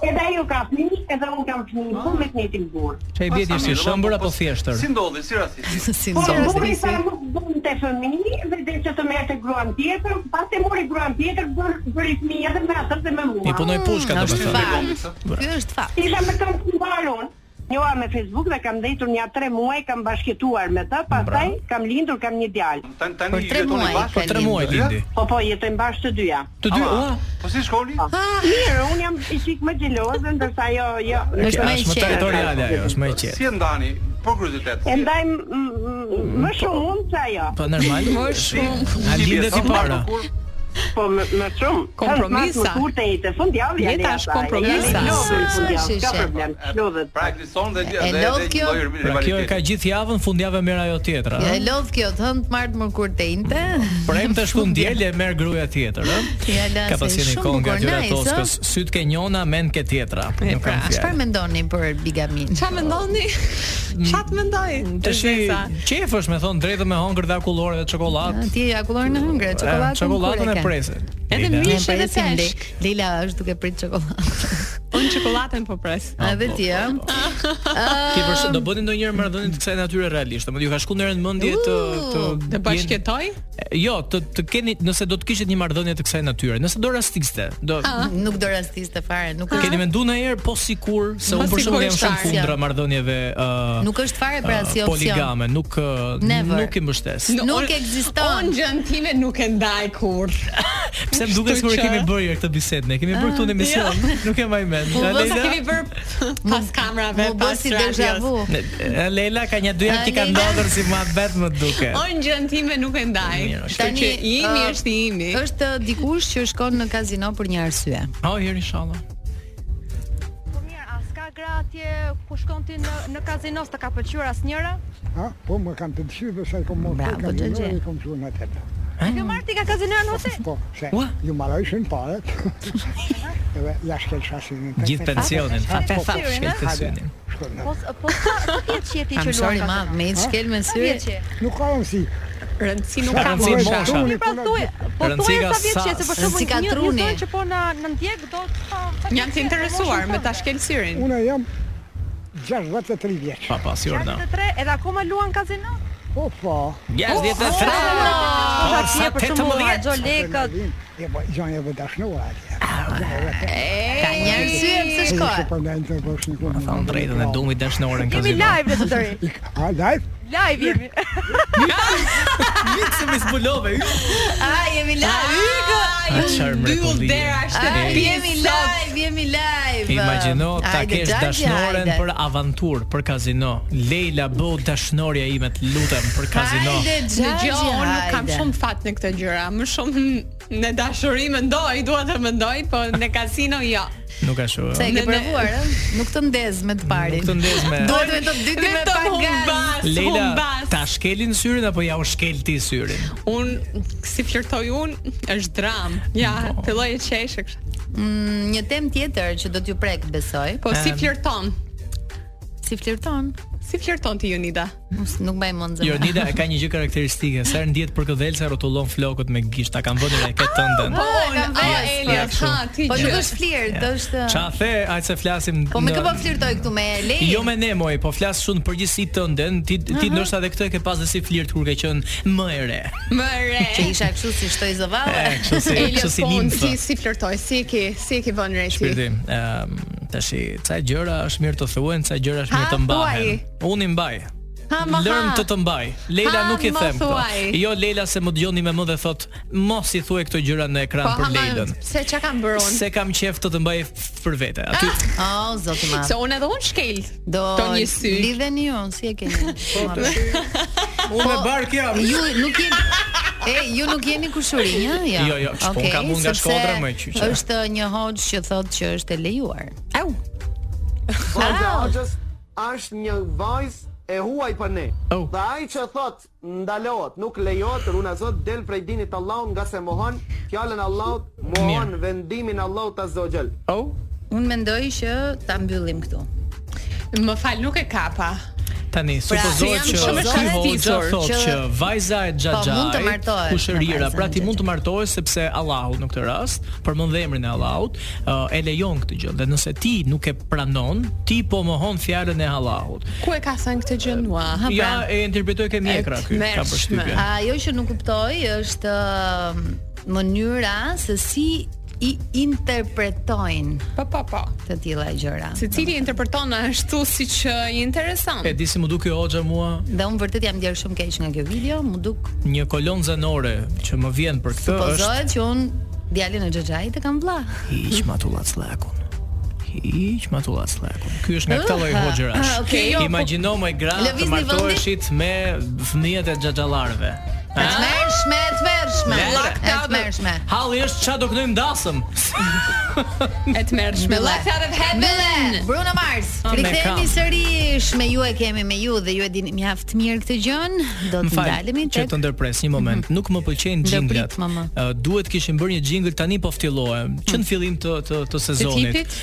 Speaker 2: edhe ajo ka fëmijë, edhe unë kam fëmijë, po me të njëjtin burr.
Speaker 10: Çe i bie si shëmbër apo thjeshtër?
Speaker 11: Si ndodhi, si rasti?
Speaker 8: si
Speaker 2: Po,
Speaker 8: ndodh?
Speaker 2: burri sa nuk bënte fëmijë dhe dhe që të merrte gruan tjetër, pas të mori gruan tjetër, bër, bëri fëmijë edhe me atë dhe me
Speaker 10: I
Speaker 2: mua.
Speaker 10: punoj pushka
Speaker 8: Mm, është
Speaker 10: domethënë.
Speaker 8: fakt. Ky është fakt.
Speaker 2: Isha me këmë të mbarun. Njoha Jo, me Facebook dhe kam ndëjtur një 3 muaj, kam bashkëtuar me të, pastaj kam lindur, kam një djalë.
Speaker 11: Tani
Speaker 8: Për
Speaker 11: tani
Speaker 8: tre
Speaker 11: jetoni
Speaker 8: muaj
Speaker 11: bashkë.
Speaker 8: ka
Speaker 10: Tre muaj lindi.
Speaker 2: Po po, jetojmë bashkë të dyja.
Speaker 10: Të dy, ua.
Speaker 11: Po si shkoni?
Speaker 2: Mirë, unë jam i qik më gjeloze, ndërsa jo, jo.
Speaker 8: Është më e
Speaker 10: Është më
Speaker 8: qetë.
Speaker 10: territoriale ajo, është më e qetë.
Speaker 11: Si e ndani? Po kuriozitet.
Speaker 2: E ndajmë m- m- më shumë unë se ajo.
Speaker 10: Po normal. A lindet i para.
Speaker 2: Po më, më shumë.
Speaker 7: Kompromisa.
Speaker 2: Kanë mas Më kurte i të fundjavë janë.
Speaker 7: Jeta
Speaker 2: jata,
Speaker 7: është kompromisa.
Speaker 2: janë i lodhur i fundjavë,
Speaker 8: Shyshe.
Speaker 2: Ka problem. Lodhet.
Speaker 11: Pra ekziston dhe
Speaker 8: E
Speaker 11: dhe
Speaker 8: lodh kjo?
Speaker 10: Pra kjo e ka gjithë javën, fundjavë merr ajo tjetra.
Speaker 8: Ja,
Speaker 10: ëh?
Speaker 8: e lodh kjo të hënë të martë mërkurtejnte
Speaker 10: Prem të shku ndjel e merr gruaja tjetër, ë?
Speaker 8: Ja, la,
Speaker 10: Ka
Speaker 8: se
Speaker 10: pasur një
Speaker 8: shumë
Speaker 10: kongë
Speaker 8: bukur,
Speaker 10: aty
Speaker 8: nice, ë?
Speaker 10: Toskës, syt ke njona, mend ke tjetra. Nuk
Speaker 7: pra,
Speaker 10: kam
Speaker 8: Çfarë
Speaker 10: fjalë.
Speaker 8: mendoni për bigamin?
Speaker 7: Ç'a mendoni? Ç'a të mendoj?
Speaker 9: Mm,
Speaker 10: Tash qef është me thon drejtë me hongër dhe akullore dhe çokoladë.
Speaker 8: A, Ti ja akullor në hëngre, çokoladën.
Speaker 10: Çokoladën e presë.
Speaker 7: Edhe
Speaker 10: Leila.
Speaker 7: mi-
Speaker 8: Ne
Speaker 7: Mish edhe
Speaker 8: presim
Speaker 7: peshk.
Speaker 8: Le- Leila është duke prit çokoladë.
Speaker 10: <laughs>
Speaker 7: Unë Unë çokoladën po pres.
Speaker 8: Edhe ti, ë?
Speaker 10: Ti përse do bëni ndonjëherë marrëdhënie të kësaj natyre realisht, apo ju ka shkuar ndonjëherë në mendje të të
Speaker 9: Po,
Speaker 7: Të bashkëtoj?
Speaker 10: Jo, të të keni nëse do të kishit një marrëdhënie të kësaj natyre, nëse do rastiste, do
Speaker 8: Nuk do rastiste fare, nuk
Speaker 10: keni menduar ndonjëherë po sikur se
Speaker 8: Po
Speaker 10: unë për shembull
Speaker 8: sikur
Speaker 10: jam shumë
Speaker 8: shtar.
Speaker 10: kundra marrëdhënieve ë
Speaker 8: Nuk është fare pra si
Speaker 10: ë,
Speaker 8: opsion.
Speaker 10: Ah, poligame, nuk ë,
Speaker 8: Never.
Speaker 10: nuk i mbështes.
Speaker 8: Nuk ekziston.
Speaker 7: Unë gjën time nuk e ndaj kurr.
Speaker 10: Pse më duket
Speaker 7: Kështu
Speaker 10: sikur e
Speaker 7: që-
Speaker 10: kemi bërë jo këtë bisedë, ne kemi bërë këtu në emision, nuk e mbaj mend.
Speaker 7: Po
Speaker 10: A,
Speaker 7: mos
Speaker 10: Leila?
Speaker 7: kemi bër pas kamerave,
Speaker 8: Mu bë
Speaker 7: pas
Speaker 8: si deja vu.
Speaker 7: radios.
Speaker 10: Ne- e, Leila ka një dy herë
Speaker 8: A,
Speaker 10: ti ka
Speaker 8: Leila?
Speaker 10: ndodhur si muhabet më duke.
Speaker 7: Unë gjën time nuk e ndaj.
Speaker 10: Mirë,
Speaker 7: Kështu
Speaker 8: Tani,
Speaker 7: që i imi
Speaker 8: ë,
Speaker 7: është i imi.
Speaker 8: Është dikush që shkon në kazino për një arsye.
Speaker 10: Ha, herë inshallah.
Speaker 1: Ska gratje, ku shkon ti në, në kazinos të ka pëlqyr asnjëra?
Speaker 4: Ha, po më kanë të dëshirë dhe sa i kom mos
Speaker 8: Bravo, Xhoxhe.
Speaker 4: i kom qenë atë.
Speaker 1: Kjo marr ti ka kazinoja në hotel?
Speaker 4: Po, se
Speaker 10: Ua.
Speaker 4: ju marrëshin paret. <laughs> Edhe ja shkel shasin.
Speaker 10: Gjithë pensionin.
Speaker 4: Ha, po,
Speaker 7: fa,
Speaker 10: Shkel të synin.
Speaker 4: shkon në-
Speaker 1: <laughs> Po s- po sa sa vjet që je ti
Speaker 8: I'm
Speaker 1: që luan
Speaker 8: sorry ma,
Speaker 1: kazino?
Speaker 8: me i shkel me
Speaker 1: Sa
Speaker 8: syri.
Speaker 1: vjet që je?
Speaker 4: Nuk ka rëndsi.
Speaker 7: Rëndësi nuk
Speaker 4: Sa
Speaker 7: ka
Speaker 10: rëndësi
Speaker 7: mosha.
Speaker 10: mosha.
Speaker 4: truni,
Speaker 1: Pra
Speaker 4: puna-
Speaker 1: thuaj, po thuaj
Speaker 10: Rëndësika
Speaker 1: sa vjet që je, se
Speaker 10: sa-
Speaker 1: për shembull
Speaker 8: Rëndësika
Speaker 1: një një
Speaker 8: truni.
Speaker 1: zoj që po na në ndjek do ta ta
Speaker 7: Jam të
Speaker 1: shkëlqen,
Speaker 7: interesuar
Speaker 1: emotion
Speaker 7: me ta
Speaker 1: tënde.
Speaker 7: shkel syrin.
Speaker 4: Unë jam 63 vjeç.
Speaker 10: Pa pas, Jordan.
Speaker 1: 63 edhe akoma luan kazino?
Speaker 4: Po, po.
Speaker 10: Yes, dhe të tre.
Speaker 1: Po
Speaker 10: sa
Speaker 1: sa për shembull
Speaker 10: 18.
Speaker 1: Arxho Lekët,
Speaker 4: E po, janë e dashnuar atje.
Speaker 8: Ka një arsye pse
Speaker 4: Ishte
Speaker 8: shkoj.
Speaker 4: për ndaj të bosh një kurrë.
Speaker 10: Thanë drejtën e dumit dashnorën
Speaker 1: jemi
Speaker 10: kazino.
Speaker 1: live le të tëri.
Speaker 4: A, live?
Speaker 1: Live jemi.
Speaker 10: Mikse mi zbulove.
Speaker 8: Ah, jemi live.
Speaker 10: A çfarë mrekullie.
Speaker 8: Ah, jemi live, jemi live.
Speaker 10: Imagjino ta
Speaker 8: Hajde,
Speaker 10: kesh
Speaker 8: Xhoxhe,
Speaker 10: dashnoren
Speaker 8: hajde.
Speaker 10: për aventur, për kazino. Leila bëu dashnorja ime, të lutem, për kazino.
Speaker 8: Hajde, Xhoxhe,
Speaker 7: Dëgjoj, unë nuk kam
Speaker 8: hajde.
Speaker 7: shumë fat në këtë gjëra, më shumë <laughs> në dashuri mendoj, dua të mendoj, po në kasino jo.
Speaker 10: Nuk ashtu.
Speaker 8: Se e ke
Speaker 7: Ne- ne-
Speaker 8: provuar, ë? Nuk të ndez me të parin.
Speaker 10: Nuk të ndez me-
Speaker 8: Duhet me të dyti me pak gaz.
Speaker 7: humbas,
Speaker 10: Leila,
Speaker 7: humbas.
Speaker 10: ta shkelin syrin apo ja u shkel ti syrin?
Speaker 7: Unë, si flirtoj unë, është dram. Ja,
Speaker 10: Po.
Speaker 7: filloj e qeshë kështë.
Speaker 8: Mm, Një temë tjetër që do t'ju prek, besoj.
Speaker 7: Po si
Speaker 10: Em.
Speaker 7: flirton?
Speaker 8: Si flirton?
Speaker 7: Si flirton ti Jonida?
Speaker 8: Ups, Nuk mbaj mend zemra.
Speaker 10: Jonida e ka një gjë karakteristike, sa herë ndihet për këdhel sa rrotullon flokët me gisht, ta kanë vënë reket tënden.
Speaker 8: Po, e
Speaker 7: Unë,
Speaker 8: kam
Speaker 7: o,
Speaker 8: vdes.
Speaker 7: Elias,
Speaker 10: kështu.
Speaker 7: ha, ti
Speaker 8: Po nuk
Speaker 7: gjë.
Speaker 8: është flirt, është
Speaker 10: Qa the, ajtë se flasim
Speaker 8: Po më
Speaker 10: në-
Speaker 8: kë po flirtoj këtu me Lej.
Speaker 10: Jo me ne moj, po flas shumë në përgjithësi tënden, ti ti ndoshta edhe këtë e ke pas dhe si flirt kur ke qenë më e re.
Speaker 7: Më re.
Speaker 8: që isha kështu si shtoj
Speaker 10: E,
Speaker 8: zëvalle.
Speaker 10: Kështu si, kështu
Speaker 7: Elias,
Speaker 10: si
Speaker 7: po unë
Speaker 10: nimfë.
Speaker 7: ti si flirtoj, si e ke, si e ke vënë re ti?
Speaker 10: Shpirti, ëm tash ca gjëra është mirë të thuhen, ca gjëra është mirë të
Speaker 7: Ha,
Speaker 10: mbahen. Unë i mbaj.
Speaker 7: Ha, ma
Speaker 10: Lërm
Speaker 7: ha.
Speaker 10: të të mbaj. Leila
Speaker 7: Ha,
Speaker 10: nuk i
Speaker 7: ma
Speaker 10: them këto.
Speaker 7: thuaj.
Speaker 10: Jo Leila se më dëgjoni me më dhe thot, mos i thuaj këto gjëra në ekran
Speaker 7: Po
Speaker 10: për
Speaker 7: ha, ma,
Speaker 10: Leilën.
Speaker 7: se çka kam bërë unë?
Speaker 10: Se kam qef të të mbaj f- për vete. Aty
Speaker 8: Oh, zoti ma.
Speaker 7: Se unë edhe unë shkel.
Speaker 8: Do
Speaker 7: to një sy.
Speaker 8: lidheni ju, si e keni?
Speaker 10: Po,
Speaker 7: Ah,
Speaker 10: unë
Speaker 7: po.
Speaker 10: me bark jam.
Speaker 8: Ju nuk jeni E, ju nuk jeni kushurinj, ë? Jo,
Speaker 10: Jo, jo, shpo,
Speaker 8: Okej,
Speaker 10: ka mund nga
Speaker 8: sepse
Speaker 10: Shkodra, më e qyqe.
Speaker 8: Është një hoxh që thotë që është e lejuar.
Speaker 7: Au.
Speaker 1: Ah.
Speaker 12: Hoxhës është një vajzë e huaj për ne.
Speaker 10: Oh.
Speaker 12: Dhe ai që thot ndalohet, nuk lejohet, runa Zot del prej dinit të Allahut nga se mohon fjalën e Allahut, mohon
Speaker 10: Mirë.
Speaker 12: vendimin e Allahut Azza wa Jall.
Speaker 10: Oh.
Speaker 8: Unë mendoj që ta mbyllim këtu.
Speaker 7: Më fal, nuk e kapa.
Speaker 10: Tani, supozohet
Speaker 7: jam
Speaker 10: që
Speaker 7: shumë e
Speaker 10: ky hoxha
Speaker 7: shkaktisur
Speaker 10: thotë
Speaker 8: që-
Speaker 10: që vajza e
Speaker 8: Po, mund të
Speaker 10: xhaxhait
Speaker 8: martohet me
Speaker 10: kushërira,
Speaker 8: vajzën
Speaker 10: pra
Speaker 8: e
Speaker 10: ti mund të
Speaker 8: xhaxhait.
Speaker 10: martohesh sepse Allahu në këtë rast, përmend dhe emrin e Allahut, ë, e lejon këtë gjë. Dhe nëse ti nuk e pranon, ti po mohon fjalën e Allahut.
Speaker 7: Ku e ka thënë këtë gjë mua? Ha, pra,
Speaker 10: Ja, e interpretoj ke mjekra
Speaker 7: E
Speaker 10: ky, ka
Speaker 7: tmerrshme.
Speaker 10: përshtypjen.
Speaker 8: Ajo që nuk kuptoj është ëm, mënyra se si i interpretojnë
Speaker 7: Po, po, po.
Speaker 8: të tilla gjëra.
Speaker 7: Secili interpreton ashtu siç e, i intereson.
Speaker 10: E di si më duk ky hoxha mua,
Speaker 8: Dhe unë vërtet jam djerë shumë keq nga kjo video, më duk
Speaker 10: një kolon zanore që më vjen për këtë është
Speaker 8: supozohet që unë djalin e Xhaxhait e kam vlla.
Speaker 10: hiq matullat slakun. Hiq matullat slakun. Ky është nga këta lloj
Speaker 8: Ah,
Speaker 10: hoxhërash.
Speaker 8: ah, okay, jo, po-
Speaker 10: Imagjino më gra të
Speaker 8: Lëvizni vendi?
Speaker 10: martoheshit me fëmijët e xhaxhallarëve.
Speaker 7: Ah.
Speaker 8: E tmerrshme, e tmerrshme. E tmerrshme.
Speaker 10: Halli është çfarë do kënojmë dasëm.
Speaker 7: E të mërshme. Life out of
Speaker 8: Bille,
Speaker 7: heaven.
Speaker 8: Bruno Mars.
Speaker 10: Ah, me
Speaker 8: Rikthehemi
Speaker 10: kam.
Speaker 8: sërish, me ju e kemi me ju dhe ju e dini mjaft mirë këtë gjën.
Speaker 10: <laughs>
Speaker 8: Do të ndalemi
Speaker 10: që
Speaker 8: tek
Speaker 10: të ndërpres një moment.
Speaker 7: Mhm.
Speaker 10: Nuk më pëlqejnë
Speaker 8: Ndërprit,
Speaker 10: jinglat.
Speaker 8: mama.
Speaker 10: Ë, duhet kishim bërë një jingle tani po ftillohem, që në fillim të të, të sezonit.
Speaker 7: Mm. tipit?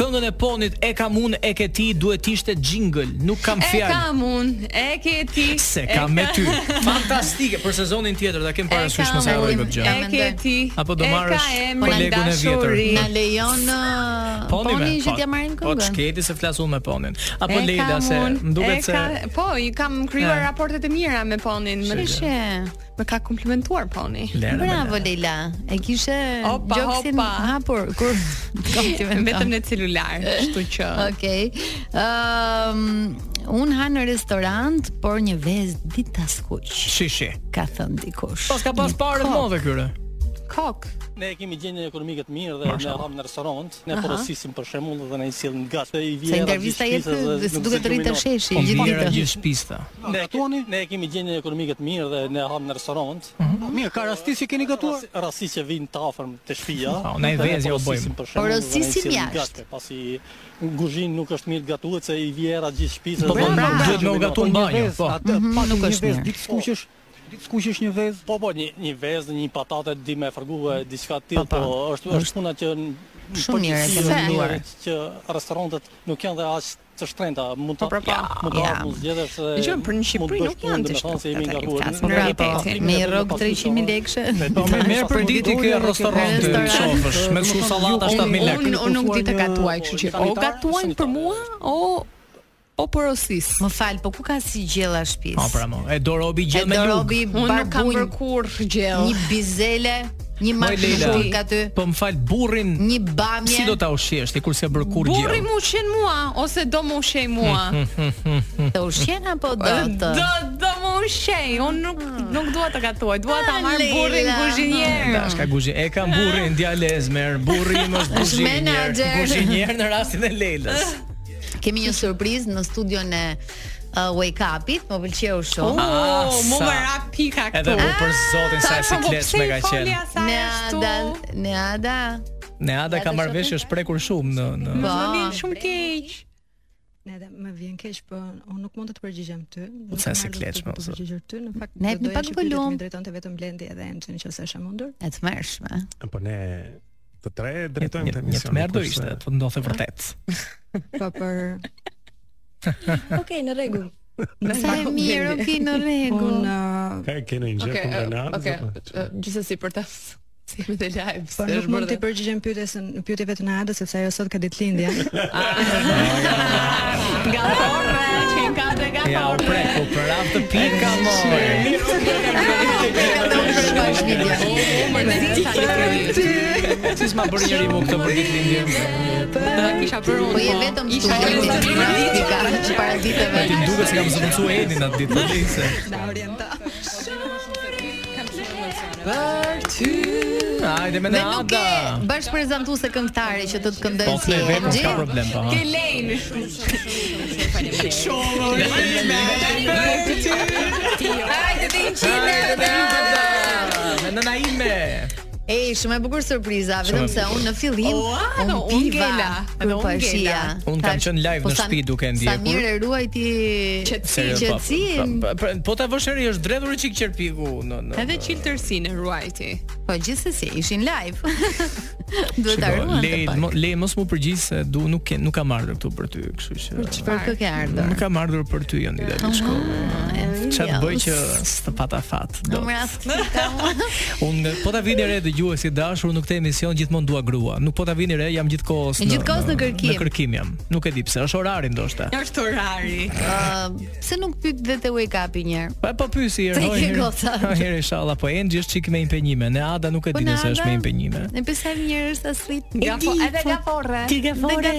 Speaker 10: Këngën e ponit e kam unë e ke ti duhet ishte jingle, nuk kam
Speaker 7: E
Speaker 10: fjalë.
Speaker 7: kam unë, e ke ti.
Speaker 10: Se
Speaker 7: e
Speaker 10: kam me
Speaker 7: ka-
Speaker 10: ty. Fantastike për sezonin tjetër ta kem parasysh mos harroj këtë gjë.
Speaker 7: E ke ti.
Speaker 10: Apo do
Speaker 7: e ka
Speaker 10: marrësh
Speaker 7: emrin
Speaker 10: kolegun e vjetër.
Speaker 7: dashuri.
Speaker 8: Na lejon ë,
Speaker 10: Poni me,
Speaker 8: poni që
Speaker 10: po-
Speaker 8: t'ja marrin
Speaker 10: Po
Speaker 8: këngën.
Speaker 10: çketi se flas unë me ponin. Apo
Speaker 7: E
Speaker 10: Leila
Speaker 7: kam
Speaker 10: se
Speaker 7: unë,
Speaker 10: Po më duket
Speaker 7: e
Speaker 10: se
Speaker 7: ka- po, i kam krijuar
Speaker 10: E.
Speaker 7: raportet e mira me Ponin. Më
Speaker 10: Shqe.
Speaker 7: Më ka komplimentuar Poni.
Speaker 10: Lera,
Speaker 8: Bravo Leila. E kishe
Speaker 7: Opa,
Speaker 8: gjoksin
Speaker 7: opa.
Speaker 8: hapur kur komplimenton.
Speaker 7: Vetëm në celular, kështu që.
Speaker 8: Okej. Ëm un ha në restorant, por një vezë ditaskuq,
Speaker 10: shishi.
Speaker 8: ka thënë dikush.
Speaker 10: Pas ka pas
Speaker 8: Një
Speaker 10: parë të
Speaker 8: kok.
Speaker 10: mëdha këtyre.
Speaker 8: Kok.
Speaker 13: Ne kemi gjendjen ekonomike të mirë dhe ne ham në restorant, ne
Speaker 8: Aha.
Speaker 13: porosisim për shembull dhe na i sillin gat. Se i
Speaker 8: Se intervista jetë, dhe s'duket të rritë sheshi, Po, gjithë vjera ditën. gjithë
Speaker 10: shpista.
Speaker 13: Ne gatuani, ne kemi gjendjen ekonomike të mirë dhe ne ham në restorant.
Speaker 10: Mhm.
Speaker 13: Mirë, ka rastisje keni gatuar? Rastisje vijnë të afërm të shtëpia.
Speaker 10: Po, na i
Speaker 13: dhe
Speaker 10: vezja u
Speaker 13: porosisim
Speaker 10: bëjmë.
Speaker 13: për shembull, dhe na i
Speaker 8: Porosisim
Speaker 13: sillin
Speaker 8: jashtë.
Speaker 13: gat, Pasi kuzhinë nuk është mirë gatuhet se i vjera gjithë shtëpisë.
Speaker 10: Po,
Speaker 13: dhe
Speaker 10: po,
Speaker 13: na i
Speaker 10: duhet me u gatu në
Speaker 13: Po, një
Speaker 10: banjë,
Speaker 13: vezë,
Speaker 10: po.
Speaker 13: atë,
Speaker 10: Mhm,
Speaker 13: pak
Speaker 10: nuk
Speaker 13: një
Speaker 10: është
Speaker 13: vezë,
Speaker 10: mirë.
Speaker 13: Ditë skuqesh, ditë skuqesh një vezë. Po, po, një një vezë, një patate di me fërgue diçka të tillë, po është është puna që në- në
Speaker 8: Shumë
Speaker 9: po,
Speaker 8: mirë e
Speaker 13: përgjithësi
Speaker 8: ke
Speaker 13: është
Speaker 8: menduar.
Speaker 13: mirë që restorantet nuk janë dhe aq të shtrenjta, mund ta
Speaker 7: pra, pa.
Speaker 13: mund ta
Speaker 8: Ja.
Speaker 13: mund zgjedhësh dhe
Speaker 7: Dëgjoj, për në Shqipëri nuk janë të shtrenjta, flasim për realitetin.
Speaker 8: Me rrog 300.000 lekë.
Speaker 10: Po,
Speaker 9: po,
Speaker 10: Me merr për ditë ke restorant të shofësh, me shumë sallata 7000 lekë.
Speaker 7: Unë unë nuk di të
Speaker 10: uh,
Speaker 7: gatuaj, kështu që o
Speaker 8: sanitar,
Speaker 7: gatuajnë për mua o o porosis.
Speaker 8: Më fal, po ku ka si gjella shtëpis?
Speaker 10: Po pra mo, e do robi gjell
Speaker 8: E
Speaker 10: me
Speaker 8: do
Speaker 10: luk.
Speaker 8: robi
Speaker 7: Unë nuk kam
Speaker 8: barbunj,
Speaker 7: bërë kurrë gjell.
Speaker 8: një bizele, një
Speaker 10: Moj Leila,
Speaker 8: marshur ka ty,
Speaker 10: po më fal burrin,
Speaker 8: një bamje.
Speaker 10: si do ta ushqesh ti kur s'e bër kur gjell?
Speaker 7: Burri mu ushen mua ose do mu ushej mua?
Speaker 10: Hmm,
Speaker 8: Të ushqen apo do të?
Speaker 7: Do do mu ushej. Unë nuk nuk dua të gatuaj, dua ta
Speaker 8: Ah,
Speaker 7: marr
Speaker 8: Leila.
Speaker 7: burrin
Speaker 10: Da,
Speaker 7: kuzhinier.
Speaker 10: shka guzhin, e kam burrin djalë e zmer, burri im është
Speaker 8: Është
Speaker 10: guzhinier,
Speaker 8: menaxher.
Speaker 10: guzhinier në rastin e Leilës.
Speaker 8: Kemi një surprizë në studion e uh, Wake Up-it, më pëlqeu shumë.
Speaker 7: Oh,
Speaker 10: Asa.
Speaker 7: mu më rap pika këtu.
Speaker 10: Ah, Edhe u për zotin sa e
Speaker 7: Sa
Speaker 10: si
Speaker 7: po
Speaker 10: kletshme ka qenë.
Speaker 8: Neada, Neada.
Speaker 10: Neada ka marrë vesh është prekur shumë në në
Speaker 8: Po.
Speaker 7: Shumë keq.
Speaker 14: Ne dhe më vjen keq, po unë nuk mund të të përgjigjem ty.
Speaker 10: Po
Speaker 14: Nuk
Speaker 10: sa
Speaker 14: kam
Speaker 10: si
Speaker 14: ardhur
Speaker 10: kletshme,
Speaker 14: këtu për të
Speaker 10: ose.
Speaker 14: përgjigjur ty, në fakt.
Speaker 8: Ne
Speaker 14: do
Speaker 8: jepni
Speaker 14: doja
Speaker 8: pak
Speaker 14: që pyetjet
Speaker 8: volum.
Speaker 14: më drejtonte vetëm Blendi edhe Emçi nëse është e mundur.
Speaker 8: E të mërshme.
Speaker 15: Po ne të tre drejtojmë të
Speaker 10: Një- Një të
Speaker 15: emisionin.
Speaker 10: merë do
Speaker 15: kurse-
Speaker 10: ishte, të ndodhe vërtet.
Speaker 14: Po për <laughs> Okej, në rregull.
Speaker 8: Sa e mirë, ok, në rregull.
Speaker 14: Unë
Speaker 15: Ka keni një gjë
Speaker 7: Okej, eh,
Speaker 15: kundër Neadës?
Speaker 7: okej.
Speaker 15: apo?
Speaker 7: Gjithsesi për ta <laughs> si me të live.
Speaker 14: Po
Speaker 7: se
Speaker 14: nuk
Speaker 7: është
Speaker 14: mund të
Speaker 7: bërë-
Speaker 14: përgjigjem pyetjes pyetjeve të Nadës sepse ajo sot ka ditëlindje.
Speaker 10: <laughs>
Speaker 7: Nga porra, që në kam dhe nga
Speaker 10: Ja, u prek, u përraf të pika, more. Si s'ma bërë njëri mu këtë për ditë lindje?
Speaker 7: Do ta kisha për unë.
Speaker 8: Po je vetëm
Speaker 7: Isha
Speaker 8: studio,
Speaker 7: e
Speaker 8: ti
Speaker 7: vetëm.
Speaker 8: praktika para ditëve.
Speaker 10: E ti duke se kam zëvëncu e edin atë ditë, të se...
Speaker 8: Për ty.
Speaker 10: Ajde me
Speaker 8: Dhe nuk
Speaker 10: Neada!
Speaker 8: e bashkëprezantuese këngëtare që të të këndojnë
Speaker 10: Po,
Speaker 8: si
Speaker 10: këne vepër
Speaker 8: Emxhi.
Speaker 10: s'ka problem, po. ha?
Speaker 7: Ke lejnë. Hajde të inqime.
Speaker 10: Me nëna ime!
Speaker 8: Ej, shumë e bukur surpriza, vetëm
Speaker 10: Shumë e
Speaker 8: se unë në fillim
Speaker 7: Ua,
Speaker 8: unë
Speaker 7: no, unë
Speaker 8: piva.
Speaker 7: gela,
Speaker 8: kur
Speaker 7: edhe unë
Speaker 8: po e
Speaker 7: gela.
Speaker 8: shija.
Speaker 10: Unë kam
Speaker 8: Thash,
Speaker 10: qënë live
Speaker 8: po
Speaker 10: në
Speaker 8: sa-
Speaker 10: shtëpi duke
Speaker 8: Sa
Speaker 10: ndjekur.
Speaker 8: mirë e ruaj ti
Speaker 10: Serio, po,
Speaker 8: qetësin.
Speaker 10: po, po, Po ta vësh eri është dredhur i çik qerpiku në në.
Speaker 7: Edhe qiltërsinë ruajti.
Speaker 8: Po gjithsesi, ishin live. <laughs> Duhet ta
Speaker 10: Shiko,
Speaker 8: ruan.
Speaker 10: Le mo- le mos mu përgjigj se du nuk ke nuk kam ardhur këtu për ty, kështu që.
Speaker 8: Për kë ke ardhur?
Speaker 10: Nuk kam ardhur për ty janë ide në shkollë. Çfarë bëj që s'të pata fat
Speaker 8: Në
Speaker 10: dot. <laughs>
Speaker 8: rast klika.
Speaker 10: Unë nga- po ta vini re dëgjuesi dashur, unë në këtë emision gjithmonë dua grua. Nuk po ta vini re, jam gjithkohës
Speaker 8: E gjithkohës në kërkim.
Speaker 10: Në kërkim jam. Nuk e di pse, është orari ndoshta.
Speaker 7: Është orari.
Speaker 8: Ë, pse Uh, nuk pyet vetë wake up i një herë?
Speaker 10: Pa po pyesi herë.
Speaker 8: Se
Speaker 10: hoj,
Speaker 8: ke
Speaker 10: herë. <laughs>
Speaker 8: goca.
Speaker 10: Herë inshallah, po Enxhi është çik me impenjime. Ne Ada nuk e
Speaker 8: Po
Speaker 10: di
Speaker 8: na
Speaker 10: nëse është me
Speaker 8: Ada?
Speaker 10: impenjime.
Speaker 8: Në pse njerëz as rit
Speaker 7: Nga po, edhe nga porre.
Speaker 8: Ti ke fore.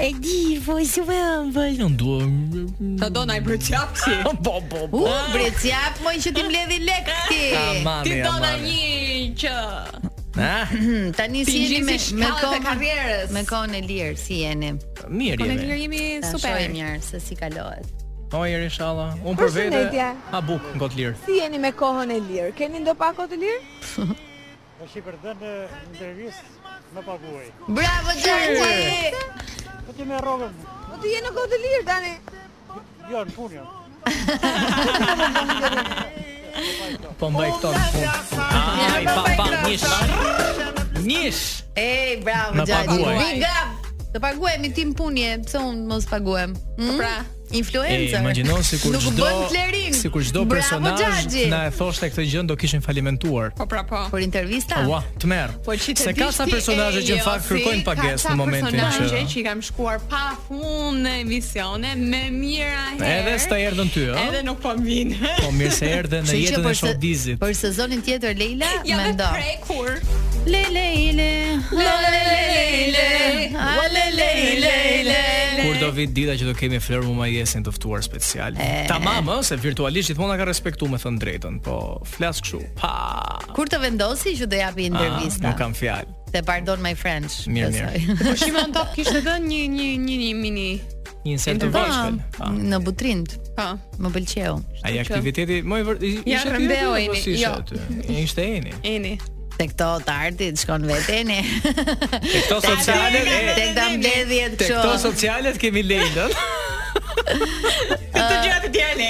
Speaker 8: E di, voj si vëm.
Speaker 10: Unë dua
Speaker 8: <laughs>
Speaker 7: Ta do na i përqafshi.
Speaker 10: Po po
Speaker 8: U, brecjap, moj që ti mbledhi lek ti.
Speaker 10: Aman,
Speaker 7: Ti do na
Speaker 10: aman.
Speaker 7: një që
Speaker 10: Ah,
Speaker 8: Tani
Speaker 7: Ti
Speaker 8: si jeni me
Speaker 7: ngjisi
Speaker 8: me
Speaker 7: shkallët e
Speaker 8: kohën
Speaker 7: karrierës.
Speaker 8: Me kohën e lirë si jeni? Po,
Speaker 10: mirë
Speaker 7: Ne
Speaker 10: jemi.
Speaker 7: jemi
Speaker 8: Ta
Speaker 7: super.
Speaker 8: shohim mirë se si kalohet.
Speaker 10: Ojër inshallah. Unë për vete.
Speaker 16: Përshëndetje.
Speaker 10: A buk ngot lir.
Speaker 16: Si jeni me kohën e lirë? Keni ndo pak kohë të lirë?
Speaker 17: Po shi për dënë intervistë më paguaj.
Speaker 8: Bravo Xhaxhi.
Speaker 17: Po ti me rrogën,
Speaker 16: Po ti jeni në kohë të lirë tani.
Speaker 17: jo në punë jam.
Speaker 10: Po mbaj këto në fund. Ai pa pa nish. Nish.
Speaker 8: Ej, bravo
Speaker 10: Më
Speaker 8: Xhaxhi.
Speaker 10: paguaj.
Speaker 8: Big up. Do paguajmë tim punje, pse unë mos paguajm? Mm? Pra,
Speaker 10: E
Speaker 8: influencer.
Speaker 10: imagjino sikur
Speaker 8: Nuk
Speaker 10: çdo
Speaker 8: bën clearing.
Speaker 10: sikur çdo
Speaker 8: Bravo,
Speaker 10: personazh
Speaker 8: Gjaxhi.
Speaker 10: na e thoshte këtë gjë do kishin falimentuar.
Speaker 7: Po pra po.
Speaker 8: Për intervista?
Speaker 10: Ua, të merr.
Speaker 7: Po që të
Speaker 10: Se ka sa personazhe që në fakt kërkojnë pagesë në momentin
Speaker 7: që
Speaker 10: që
Speaker 7: që i kam shkuar pa fund në emisione me mira herë.
Speaker 10: Edhe s'ta erdhën ty, ë?
Speaker 7: Edhe nuk po mvin.
Speaker 8: <laughs>
Speaker 10: Po mirë se erdhe në
Speaker 8: Kështu që
Speaker 10: jetën
Speaker 8: për
Speaker 10: e
Speaker 8: se-
Speaker 10: showbizit.
Speaker 8: Për sezonin tjetër <laughs> Leila,
Speaker 7: Ja me
Speaker 8: mendo.
Speaker 7: prej kur.
Speaker 8: Le le le. Le le le le. A, Le le le le.
Speaker 10: Kur do vit dita që do kemi Flor Mumajesin të ftuar special.
Speaker 8: E.
Speaker 10: Tamam, ë, se virtualisht gjithmonë na ka respektuar me thënë drejtën, po flas kështu. Pa.
Speaker 8: Kur të vendosi që do japi intervista?
Speaker 10: Ah, Nuk kam fjalë.
Speaker 8: Te pardon my French.
Speaker 10: Mirë,
Speaker 8: besoj.
Speaker 10: mirë.
Speaker 7: Po Shimon Top kishte dhënë një një një një mini.
Speaker 10: Një insert të
Speaker 8: Po,
Speaker 10: vogël.
Speaker 8: Në butrind.
Speaker 7: Po.
Speaker 8: Më pëlqeu.
Speaker 10: Po, Ai aktiviteti më i po, vërtetë.
Speaker 7: Ja, rëmbeu Eni, jo.
Speaker 10: Ishte Eni.
Speaker 7: Eni.
Speaker 8: Te këto të artit shkon veteni.
Speaker 10: Te këto socialet, e,
Speaker 8: Te këta mbledhjet
Speaker 10: te
Speaker 8: kështu.
Speaker 10: këto socialet kemi Leilën.
Speaker 7: Këto gjëra të djale.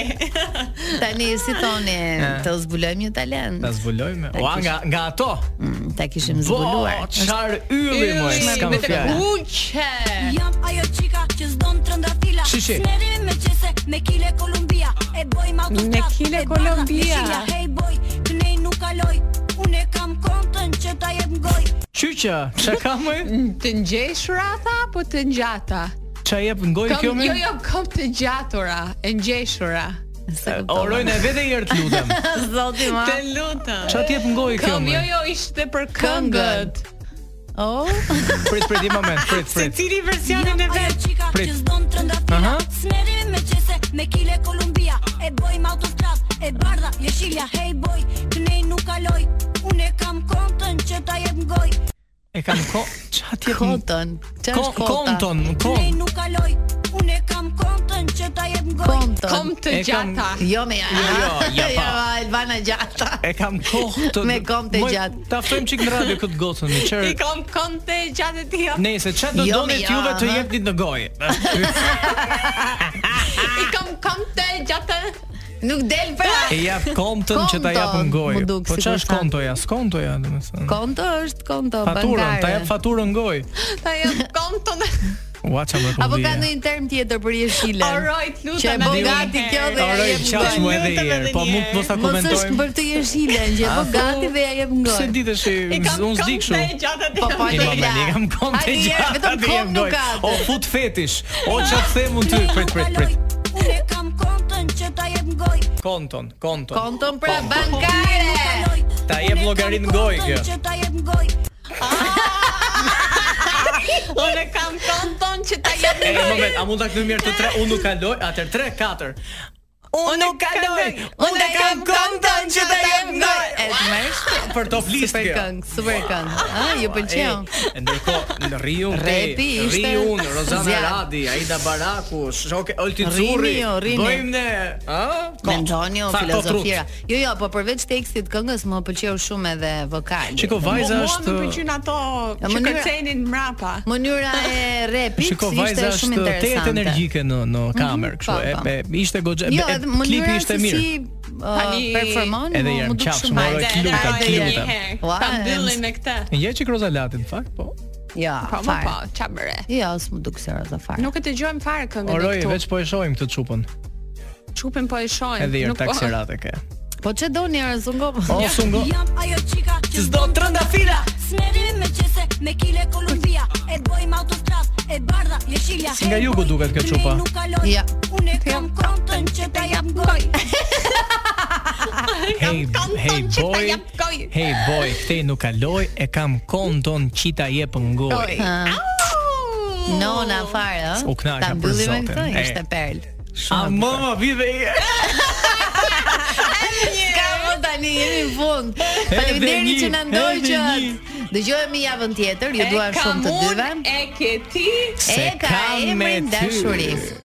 Speaker 8: Tani si thoni,
Speaker 10: Eh.
Speaker 8: të zbulojmë një talent.
Speaker 10: Ta zbulojmë.
Speaker 8: Ta
Speaker 10: Ua
Speaker 8: kish-
Speaker 10: nga nga ato.
Speaker 8: Ta kishim zbuluar.
Speaker 10: Çfar ylli më, s'kam fjalë.
Speaker 7: Kuqe.
Speaker 18: Jam ajo qika që s'don trëndatila.
Speaker 10: Shishi.
Speaker 18: Smeri me qese me kile Kolumbia. E boj ma
Speaker 7: Me kile Kolumbia.
Speaker 18: Hey boy, kënej nuk kaloj. Unë e kam kontën që ta jep ngoj.
Speaker 10: Qyqa, çka ka më?
Speaker 7: Të ngjeshura tha apo të ngjata?
Speaker 10: Ça jep ngojë kjo
Speaker 7: Kom,
Speaker 10: më?
Speaker 7: jo, jo, kom të gjatura, e ngjeshura.
Speaker 10: Orojnë e vete i herë të
Speaker 7: <laughs>
Speaker 10: lutem.
Speaker 8: Zoti ma.
Speaker 7: Të lutem.
Speaker 10: Ç'a t'jep ngojë kjo,
Speaker 7: Kom,
Speaker 10: më?
Speaker 7: jo, jo, ishte për këngët.
Speaker 8: Oh.
Speaker 10: Prit, prit, një moment, prit, prit.
Speaker 7: Secili versionin e vet.
Speaker 18: Qika
Speaker 10: Prit.
Speaker 18: që s'don trëndatila.
Speaker 10: Aha.
Speaker 18: Smeri me qese me kile Kolumbia. E boj ma autostras. E bardha, jeshilja. Hey boy, kënej nuk kaloj. Unë e kam kontën që ta jep ngoj.
Speaker 10: E kam ko... Qa t'jep...
Speaker 8: Konton. Qa
Speaker 10: Ko-
Speaker 8: është kota?
Speaker 10: konton, kon.
Speaker 18: Unë nuk kaloj, unë e kam kontën që ta jep ngoj.
Speaker 8: Konton.
Speaker 10: E kam-
Speaker 8: Jo me ja.
Speaker 10: Jo, jo,
Speaker 8: ja,
Speaker 10: pa.
Speaker 8: Elvana gjata.
Speaker 10: E kam kohë të...
Speaker 8: Me kom të
Speaker 10: Moj,
Speaker 8: gjatë.
Speaker 10: Ta ftojmë qik në radio këtë gotën, me
Speaker 7: I
Speaker 10: qërë...
Speaker 7: kom kom të gjatë e tja.
Speaker 10: Nëse çfarë do
Speaker 8: Jo,
Speaker 10: doni
Speaker 8: me ja,
Speaker 10: juve të
Speaker 8: ha?
Speaker 10: jepnit në gojë.
Speaker 7: I kom kom të gjatë.
Speaker 8: Nuk del pra.
Speaker 10: E jap kontën që ta jap në gojë.
Speaker 8: Konton, më duk,
Speaker 10: Po çfarë
Speaker 8: si kur
Speaker 10: është
Speaker 8: tha.
Speaker 10: kontoja? S'kontoja, domethënë.
Speaker 8: Konto është konto
Speaker 10: Faturën, ta jap
Speaker 8: bankare.
Speaker 10: faturën në gojë.
Speaker 7: Ta jo, jep konton.
Speaker 10: Ua çfarë po më
Speaker 8: Apo ka ndonjë term tjetër për jeshile?
Speaker 7: Orojt, lutem,
Speaker 8: Që e bën
Speaker 7: edhe
Speaker 8: gati
Speaker 7: një
Speaker 8: kjo dhe ja
Speaker 10: Oroj,
Speaker 8: jep
Speaker 10: qash
Speaker 8: ngoj.
Speaker 10: mu edhe një herë. Po mund mos ta
Speaker 8: Mos është
Speaker 10: komentojmë.
Speaker 8: për të jeshile, që e
Speaker 10: A,
Speaker 8: bën
Speaker 10: po,
Speaker 8: gati dhe ja jep ngoj.
Speaker 10: Se ditësh
Speaker 8: I kam
Speaker 10: unë s'di kështu.
Speaker 8: konte gjatë atij. Po, po,
Speaker 10: I
Speaker 8: Leila.
Speaker 10: mamë, i kam konte
Speaker 8: Hajde,
Speaker 10: gjatë.
Speaker 8: vetëm
Speaker 10: atij,
Speaker 8: kom
Speaker 10: jep
Speaker 8: nuk
Speaker 10: gojë.
Speaker 8: ka atë.
Speaker 10: O fut fetish. O çfarë them unë ty? Prit, prit, prit.
Speaker 18: Unë e kam kontën që ta jep ngoj.
Speaker 10: Konton, konton.
Speaker 8: Konton pra
Speaker 10: Konton.
Speaker 8: bankare.
Speaker 10: Ta jep llogarin në gojë
Speaker 18: Kontën
Speaker 10: kjo.
Speaker 18: që ta jep ngoj.
Speaker 7: Unë kam konton që ta
Speaker 10: E
Speaker 7: jep në
Speaker 10: një
Speaker 7: gojë.
Speaker 10: moment, a mund ta këtu mirë të tre? Unë nuk kaloj, atër tre, katër.
Speaker 7: Unë nuk kaloj.
Speaker 8: Unë kam konton që ta jep ngoj. E të
Speaker 10: Për top list
Speaker 8: Super
Speaker 10: kjo.
Speaker 8: këngë, super këngë. Ah, ju pëlqeu.
Speaker 10: E, Ndërkohë, në Riu,
Speaker 8: Repi
Speaker 10: te,
Speaker 8: ishte
Speaker 10: Riu, Rozana
Speaker 8: zjarr.
Speaker 10: Radi, Aida Baraku, Shoke Olti
Speaker 8: Rini,
Speaker 10: Curri.
Speaker 8: o, Rini.
Speaker 10: Bëjmë ne, ë?
Speaker 8: Mendoni o filozofira. Jo, jo, po përveç tekstit këngës më pëlqeu shumë edhe vokali.
Speaker 10: Shiko, vajza
Speaker 7: Mua
Speaker 10: është-
Speaker 7: më pëlqyn ato
Speaker 8: Ja,
Speaker 7: që
Speaker 8: mënyra-
Speaker 7: kërcenin mrapa.
Speaker 8: Mënyra e repit
Speaker 10: Shiko
Speaker 8: ishte
Speaker 10: vajza
Speaker 8: shumë
Speaker 10: është tejet
Speaker 8: interesante.
Speaker 10: energjike në në kamerë, kështu.
Speaker 8: po, po.
Speaker 10: e- e- Ishte goxha.
Speaker 8: Jo,
Speaker 10: e-
Speaker 8: edhe
Speaker 10: e-
Speaker 8: mënyra
Speaker 10: Klipi ishte
Speaker 8: se
Speaker 10: mirë.
Speaker 8: si uh,
Speaker 7: Tani-
Speaker 8: performon
Speaker 10: Edhe
Speaker 8: mu-
Speaker 10: jam
Speaker 8: mu duk
Speaker 10: qafsh,
Speaker 8: shumë
Speaker 10: more,
Speaker 8: hajde,
Speaker 10: klutem,
Speaker 8: hajde,
Speaker 10: klutem.
Speaker 8: hajde.
Speaker 7: Ua,
Speaker 8: Ua,
Speaker 7: ta
Speaker 8: e
Speaker 7: mbyllin
Speaker 8: ms-
Speaker 7: me këtë.
Speaker 10: Një çik rozalatin, fakt, po.
Speaker 8: Ja,
Speaker 7: Po, po,
Speaker 8: fare.
Speaker 7: po, qa bëre?
Speaker 8: Jo, s'mu duk se roza fare.
Speaker 7: Nuk e dëgjojmë fare këngën
Speaker 10: Oroj,
Speaker 7: këtu.
Speaker 10: veç po e shohim këtë çupën.
Speaker 7: Çupin po e shohim.
Speaker 10: Edhe herë
Speaker 7: nuk <laughs> po-
Speaker 9: e
Speaker 10: taksirate ke.
Speaker 8: Po çe doni era zungo?
Speaker 10: O, sungo.
Speaker 18: Jam ajo qika që s'do trëndafila. Smeri me qese me kile Kolumbia. E boj ma autostras, e bardha, jeshilja.
Speaker 10: Si nga jugu duket kjo çupa?
Speaker 18: Nuk kaloj.
Speaker 8: Ja.
Speaker 18: Unë e kam kontën që ta jep ngoj.
Speaker 10: Hey, hey
Speaker 7: që ta
Speaker 10: boy.
Speaker 7: jap gojë.
Speaker 10: Hey boy, kthej nuk kaloj, e kam konton qita jep ngoj.
Speaker 8: Ah. Nona fare, ë?
Speaker 10: U knaqa
Speaker 8: Ta
Speaker 10: për
Speaker 8: mbyllim me
Speaker 10: zotin.
Speaker 8: këtë,
Speaker 10: E.
Speaker 8: ishte perl.
Speaker 10: A mama vive i
Speaker 8: Ka më tani jemi në fund. Faleminderit
Speaker 10: një,
Speaker 8: që na ndoqët. Dëgjohemi javën tjetër, ju dua shumë të dyve.
Speaker 7: E ke ti?
Speaker 8: E ka emrin dashuri.